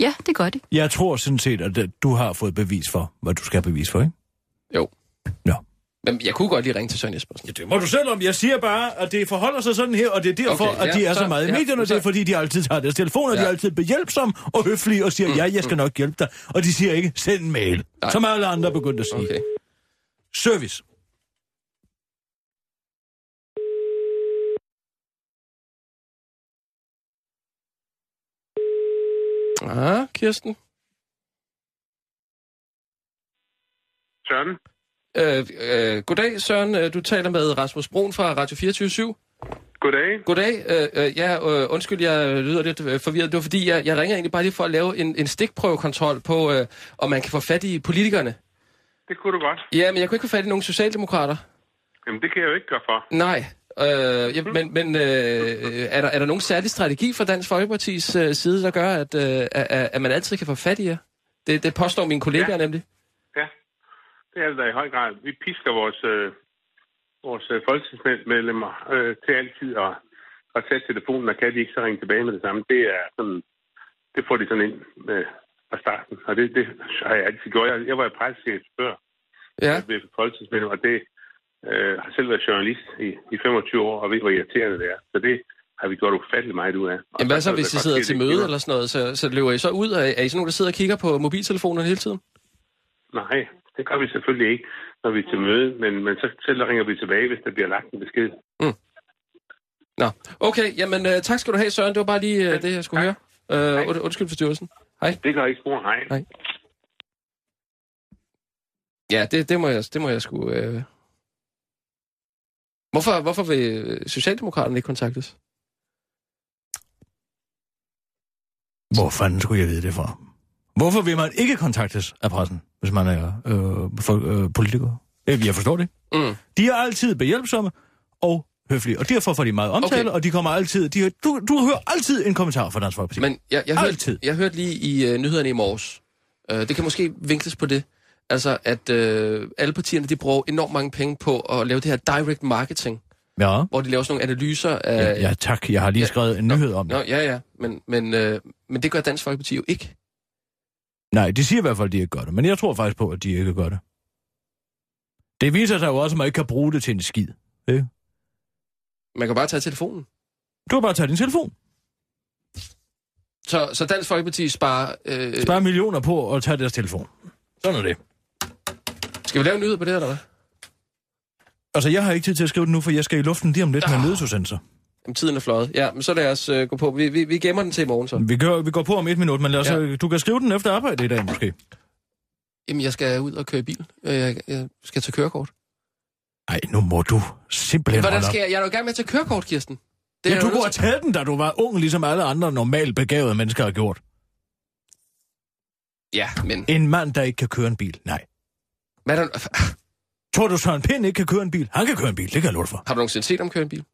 Ja, det gør de. Jeg tror sådan set, at øh, du har fået bevis for, hvad du skal have bevis for, ikke? Men jeg kunne godt lige ringe til Søren Jespersen. Ja, det må du selv om. Jeg siger bare, at det forholder sig sådan her, og det er derfor, Okay, at de ja, er så, så- meget i ja, medierne. så- det er fordi, de altid tager deres telefon, og ja. de Ja. Mm, er altid behjælpsomme og høflige og siger, ja, jeg skal nok hjælpe dig. Og de siger ikke, send en mail. Nej. Som alle andre er begyndt at sige. Okay. Service. Ah, Kirsten. Søren. Øh, øh, goddag, Søren. Øh, Du taler med Rasmus Broen fra Radio 24 Goddag. Goddag. Øh, øh, ja, øh, undskyld, jeg lyder lidt øh, forvirret. Det var fordi, jeg, jeg ringer egentlig bare lige for at lave en, en stikprøvekontrol på, øh, om man kan få fat i politikerne. Det kunne du godt. Ja, men jeg kunne ikke få fat i nogen socialdemokrater. Jamen, det kan jeg jo ikke gøre for. Nej. Øh, ja, men men øh, øh, er, der, er der nogen særlig strategi fra Dansk Folkepartis øh, side, der gør, at, øh, at, at man altid kan få fat i jer? Det, det påstår mine kollegaer ja. nemlig. Det er det da i høj grad. Vi pisker vores, øh, vores øh, folketingsmedlemmer øh, til altid at, at tage telefonen, og kan de ikke så ringe tilbage med det samme. Det er sådan, det får de sådan ind med fra starten, og det, det har jeg altid gjort. Jeg, jeg var jo pressechef før ja. ved folketingsmedlem, og det øh, har selv været journalist i, i 25 år, og ved, hvor irriterende det er. Så det har vi gjort ufattelig meget ud af. Og Jamen hvad så, kan det hvis I godt sidder ske, at til det ikke møde giver- eller sådan noget, så, så løber I så ud? Er, er I sådan nogen, der sidder og kigger på mobiltelefonerne hele tiden? Nej, det gør vi selvfølgelig ikke, når vi er til møde, men, men så selv ringer vi tilbage, hvis der bliver lagt en besked. Nå, okay. Jamen øh, tak skal du have, Søren. Det var bare lige øh, det, jeg skulle høre. Øh, und, undskyld forstyrrelsen. Hej. Det gør ikke spor, hej. hej. Ja, det, det, må jeg, det må jeg sgu... Øh... Hvorfor, hvorfor vil øh, Socialdemokraterne ikke kontaktes? Hvor fanden skulle jeg vide det fra? Hvorfor vil man ikke kontaktes af pressen, hvis man er øh, folk, øh, politiker? Øh, Jeg forstår det. Mm. De er altid behjælpsomme og høflige, og derfor får de meget omtale, okay. og de kommer altid... De, du, du hører altid en kommentar fra Dansk Folkeparti. Men jeg, jeg, hørte, jeg hørte lige i øh, nyhederne i morges, øh, det kan måske vinkles på det, altså at øh, alle partierne de bruger enormt mange penge på at lave det her direct marketing, Ja. hvor de laver sådan nogle analyser af... Ja, ja, tak. Jeg har lige skrevet en nyhed om det. øh, Nå, ja, ja, men, men, øh, men det gør Dansk Folkeparti jo ikke. Nej, de siger i hvert fald, at de ikke gør det, men jeg tror faktisk på, at de ikke gør det. Det viser sig jo også, at man ikke kan bruge det til en skid. Ikke? Man kan bare tage telefonen. Du har bare taget din telefon. Så, så Dansk Folkeparti sparer... Øh, Spare millioner på at tage deres telefon. Sådan er det. Skal vi lave en nyhed på det, eller hvad? Altså, jeg har ikke tid til at skrive det nu, for jeg skal i luften lige om lidt Ah. med en nødsudsendelse. Jamen, tiden er fløjet. Ja, men så lad os øh, gå på. Vi, vi, vi gemmer den til i morgen, så. Vi, gør, vi går på om et minut, men lad os, ja. du kan skrive den efter arbejde i dag måske. Jamen, jeg skal ud og køre i bil. Øh, Jeg, jeg skal tage kørekort. Nej, nu må du simpelthen Hvordan holde op. skal jeg? Jeg er jo i gang med at tage kørekort, Kirsten. Det er ja, du jeg kunne jo have nødt til. taget den, da du var ung, ligesom alle andre normalt begavede mennesker har gjort. Ja, men... En mand, der ikke kan køre en bil. Nej. Hvad er der... Tror du, Søren Pind ikke kan køre en bil? Han kan køre en bil, det kan jeg love dig for. Har du nogensinde set ham køre en bil?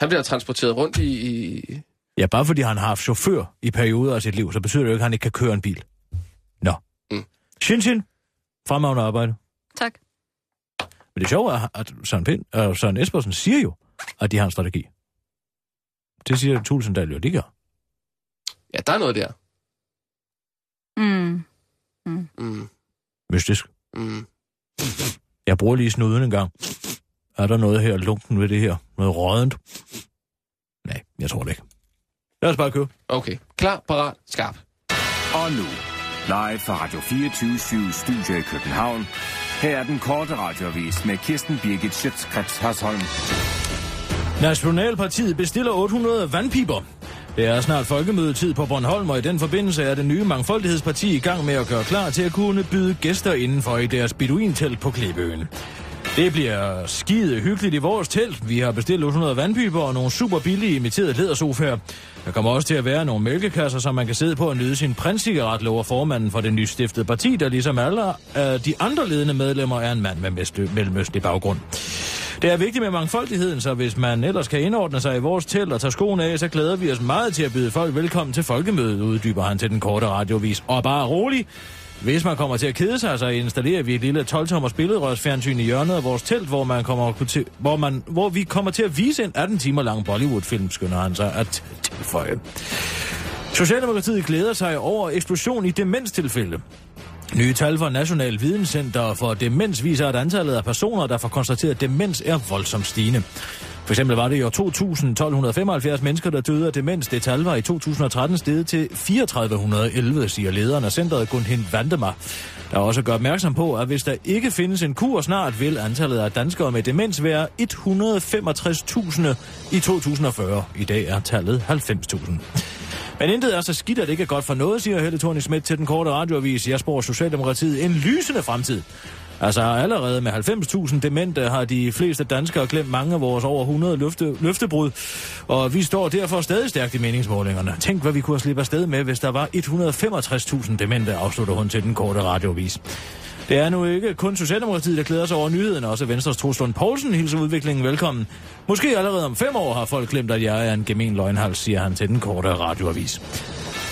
Han bliver transporteret rundt i... i... Ja, bare fordi han har haft chauffør i perioder af sit liv, så betyder det jo ikke, at han ikke kan køre en bil. Nå. Mm. Shin Shin, fremragende arbejde. Tak. Men det sjove er, at Søren, Pind, øh, Søren Espersen siger jo, at de har en strategi. Det siger Tulsendal jo, de gør. Ja, der er noget der. Mm. Mm. Mystisk. Mm. Jeg bruger lige snuden en gang. Er der noget her lunken ved det her? Noget rådent? Nej, jeg tror det ikke. Lad os bare købe. Okay. Klar, parat, skarp. Og nu, live fra Radio 24 Studio i København. Her er den korte radiovis med Kirsten Birgit Schøtzgrads Hasholm. Nationalpartiet bestiller 800 vandpiber. Det er snart folkemødetid på Bornholm, og i den forbindelse er det nye Mangfoldighedsparti i gang med at gøre klar til at kunne byde gæster indenfor i deres beduintelt på Klippeøen. Det bliver skide hyggeligt i vores telt. Vi har bestilt 800 vandpiber og nogle super billige imiterede lædersofaer. Der kommer også til at være nogle mælkekasser, som man kan sidde på og nyde sin prinscigaret, lover formanden for det nystiftede parti, der ligesom alle øh, de andre ledende medlemmer er en mand med mest- mellemøstlig baggrund. Det er vigtigt med mangfoldigheden, så hvis man ellers kan indordne sig i vores telt og tage skoene af, så glæder vi os meget til at byde folk velkommen til folkemødet, uddyber han til den korte radiovis. Og bare rolig, hvis man kommer til at kede sig, så installerer vi et lille 12-tommers billedrørsfjernsyn i hjørnet af vores telt, hvor, man kommer til, hvor, man, hvor vi kommer til at vise en 18 timer lang Bollywood-film, skynder han sig at tilføje. Socialdemokratiet glæder sig over eksplosion i demenstilfælde. Nye tal fra National Videnscenter for Demens viser, at antallet af personer, der får konstateret demens, er voldsomt stigende. For eksempel var det i år 2000 1275 mennesker, der døde af demens. Det tal var i 2013 steget til 3411, siger lederen af centret Gundhind Vandemar. Der er også gør opmærksom på, at hvis der ikke findes en kur snart, vil antallet af danskere med demens være 165.000 i 2040. I dag er tallet 90.000. Men intet er så skidt, at det ikke er godt for noget, siger Helle Thorning Schmidt til den korte radioavis. Jeg spår Socialdemokratiet en lysende fremtid. Altså allerede med 90.000 demente har de fleste danskere glemt mange af vores over 100 løfte, løftebrud, og vi står derfor stadig stærkt i meningsmålingerne. Tænk, hvad vi kunne have slippe afsted med, hvis der var 165.000 demente, afslutter hun til den korte radioavis. Det er nu ikke kun Socialdemokratiet, der glæder sig over nyheden, også Venstres Troslund Poulsen hilser udviklingen velkommen. Måske allerede om fem år har folk glemt, at jeg er en gemen løgnhals, siger han til den korte radioavis.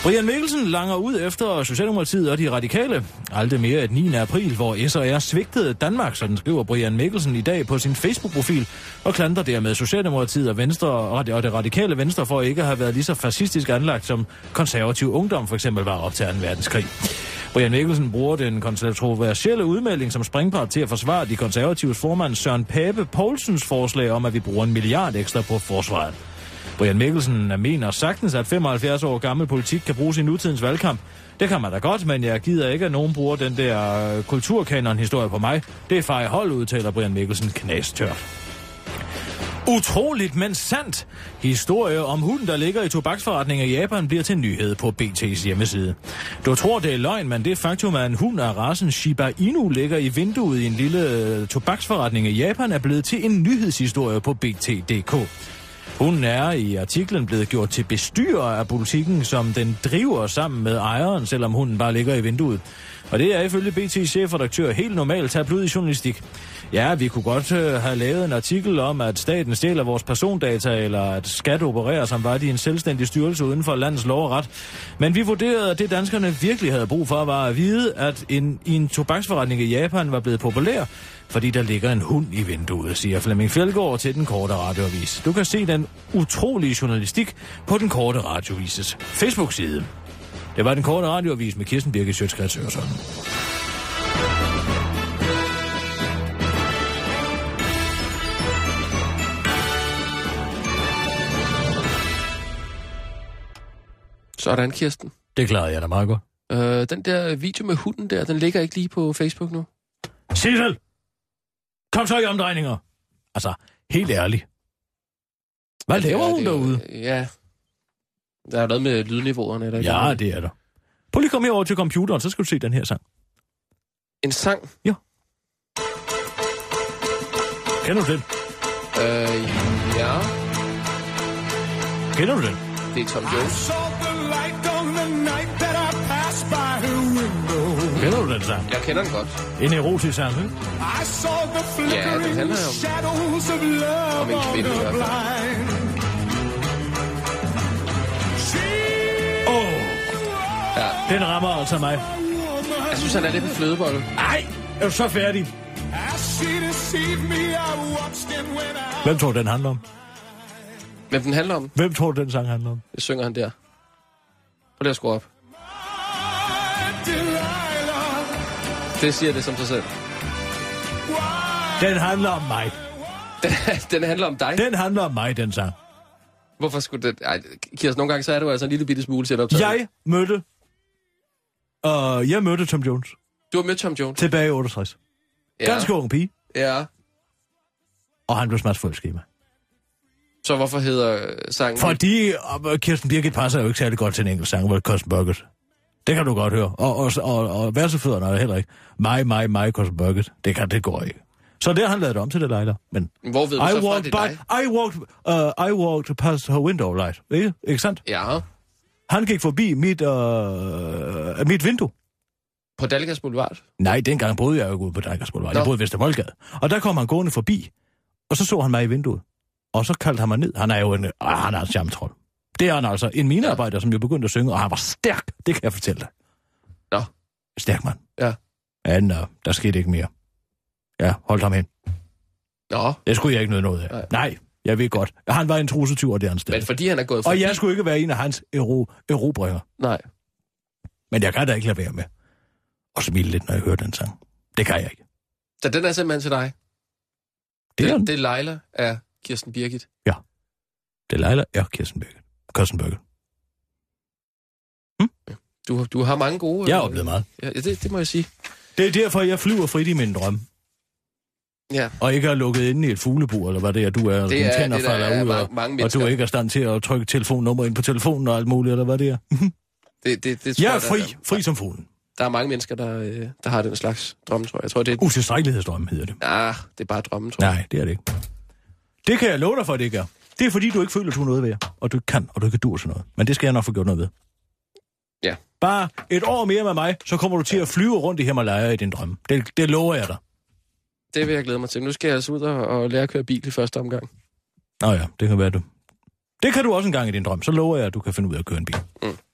Brian Mikkelsen langer ud efter Socialdemokratiet og de radikale. Aldrig mere et 9. april, hvor S&R svigtede Danmark, sådan skriver Brian Mikkelsen i dag på sin Facebook-profil, og klandrer dermed Socialdemokratiet og, Venstre, og det radikale Venstre for ikke at have været lige så fascistisk anlagt, som konservativ ungdom for eksempel var op til 2. verdenskrig. Brian Mikkelsen bruger den kontroversielle udmelding som springbræt til at forsvare de konservatives formand Søren Pape Poulsens forslag om, at vi bruger en milliard ekstra på forsvaret. Brian Mikkelsen mener sagtens, at 75 år gammel politik kan bruges i nutidens valgkamp. Det kan man da godt, men jeg gider ikke, at nogen bruger den der øh, kulturkanon-historie på mig. Det er far i hold, udtaler Brian Mikkelsen knastørt. Utroligt, men sandt. Historie om hunden, der ligger i tobaksforretninger i Japan, bliver til nyhed på BT's hjemmeside. Du tror, det er løgn, men det faktum, at en hund af rasen Shiba Inu ligger i vinduet i en lille øh, tobaksforretning i Japan, er blevet til en nyhedshistorie på BT.dk. Hun er i artiklen blevet gjort til bestyrer af butikken, som den driver sammen med ejeren, selvom hunden bare ligger i vinduet. Og det er ifølge BT's chefredaktør helt normal tabloid journalistik. Ja, vi kunne godt øh, have lavet en artikel om, at staten stjæler vores persondata, eller at skat opererer som var de en selvstændig styrelse uden for landets lov og ret. Men vi vurderede, at det danskerne virkelig havde brug for, var at vide, at en, i en tobaksforretning i Japan var blevet populær, fordi der ligger en hund i vinduet, siger Flemming Fjeldgaard til den korte radioavis. Du kan se den utrolige journalistik på den korte radioavises Facebook-side. Det var den korte radioavis med Kirsten Birke Sjøtskrets Hørsholm. Sådan, Kirsten. Det klarede jeg da meget godt. Øh, den der video med hunden der, den ligger ikke lige på Facebook nu. Sissel! Kom så i omdrejninger! Altså, helt ærligt. Hvad Ja, laver det hun er jo- derude? Ja. Der er noget med lydniveauerne. Eller Ja, det er der. Prøv lige at komme herover til computeren, så skal du se den her sang. En sang? Ja. Kender du den? Øh, ja. Kender du den? Det er Tom Jones. Kender du den sang? Jeg kender den godt. En erotisk sang, ikke? Ja, den handler jo om- om en kvinde i hvert fald. Åh! Oh. Ja. Den rammer altså mig. Jeg synes, han er lidt en flødebolle. Ej, er du så færdig? Hvem tror du, den handler om? Men den handler om, Hvem tror du, den sang handler om? det synger han der. Prøv lige at skrue op. Det siger det som sig selv. Den handler om mig. Den, den handler om dig. Den handler om mig, den sang. Hvorfor skulle det... Ej, Kirsten, nogle gange så er du altså en lille bitte smule til op. Jeg mødte... Uh, jeg mødte Tom Jones Du har mødt Tom Jones. tilbage i 68. Ja. Ganske ung pige, Ja. og han blev smart forelsket i mig. Så hvorfor hedder øh, sangen... Fordi og Kirsten Birgit passer jo ikke særlig godt til en enkelt sang, hvor Kirsten Birgit. Det kan du godt høre. Og, og, og, og værsefødderne er der heller ikke. Mig, mig, mig, Kirsten Birgit. Det kan det går ikke. Så det har han lavet det om til det lejler. Men Hvor ved du I så fra, walked det er dig? by, I walked, uh, I walked past her window light. Ikke, ikke sandt? Ja. Han gik forbi mit, uh, mit vindue. På Dalgas Boulevard. Nej, dengang boede jeg jo ikke ude på Dikers Boulevard. Nå. Jeg boede i Vestervoldgade. Og der kom han gående forbi, og så så han mig i vinduet. Og så kaldte han mig ned. Han er jo en, øh, han er en charmetrol. Det er han altså. En minearbejder, som jo begyndte at synge, og han var stærk. Det kan jeg fortælle dig. Nå. Stærk mand. Ja. Ja, nå, der skete ikke mere. Ja, holdt ham hen. Nå, Det skulle jeg ikke noget noget af. Nej. Nej. Nej jeg ved godt. Han var en trusetyv, og det er han men stadig. fordi han er gået Og jeg skulle ikke være en af hans ero- erobringer. Nej. Men jeg kan da ikke lade være med og smile lidt, når jeg hører den sang. Det kan jeg ikke. Så den er simpelthen til dig? Det er det, den. det er Leila af Kirsten Birgit. Det er Leila, ja, Kirsten Birgit. Kirsten Birgit. Du, du har mange gode... Jeg har øh, oplevet meget. Ja, det, det må jeg sige. Det er derfor, jeg flyver frit i min drøm. Ja. Og ikke er lukket inde i et fuglebur, eller hvad det er, du er. Det dine er tænder det, der falder er ud, mange- og, mange og du mennesker. er ikke er i stand til at trykke telefonnummer ind på telefonen og alt muligt, eller hvad det er. Det, det, det, tror Jeg er jeg, fri, Der, fri som fuglen. der er mange mennesker, der, øh, der har den slags drømme, tror jeg. Jeg tror, det er... Utilstrækkelighedsdrøm hedder det. Ah, det er bare drømme, tror jeg. Nej, det er det ikke. Det kan jeg love dig for, det ikke er. Det er fordi, du ikke føler, du er noget ved, og du ikke kan, og du ikke dur til noget. Men det skal jeg nok få gjort noget ved. Ja. Bare et år mere med mig, så kommer du til at flyve rundt i Himalaya i din drøm. Det, det lover jeg dig. Det vil jeg glæde mig til. Nu skal jeg altså ud og, og lære at køre bil i første omgang. Nå ja, det kan være du. Det kan du også engang i din drøm. Så lover jeg, at du kan finde ud af at køre en bil. Mm.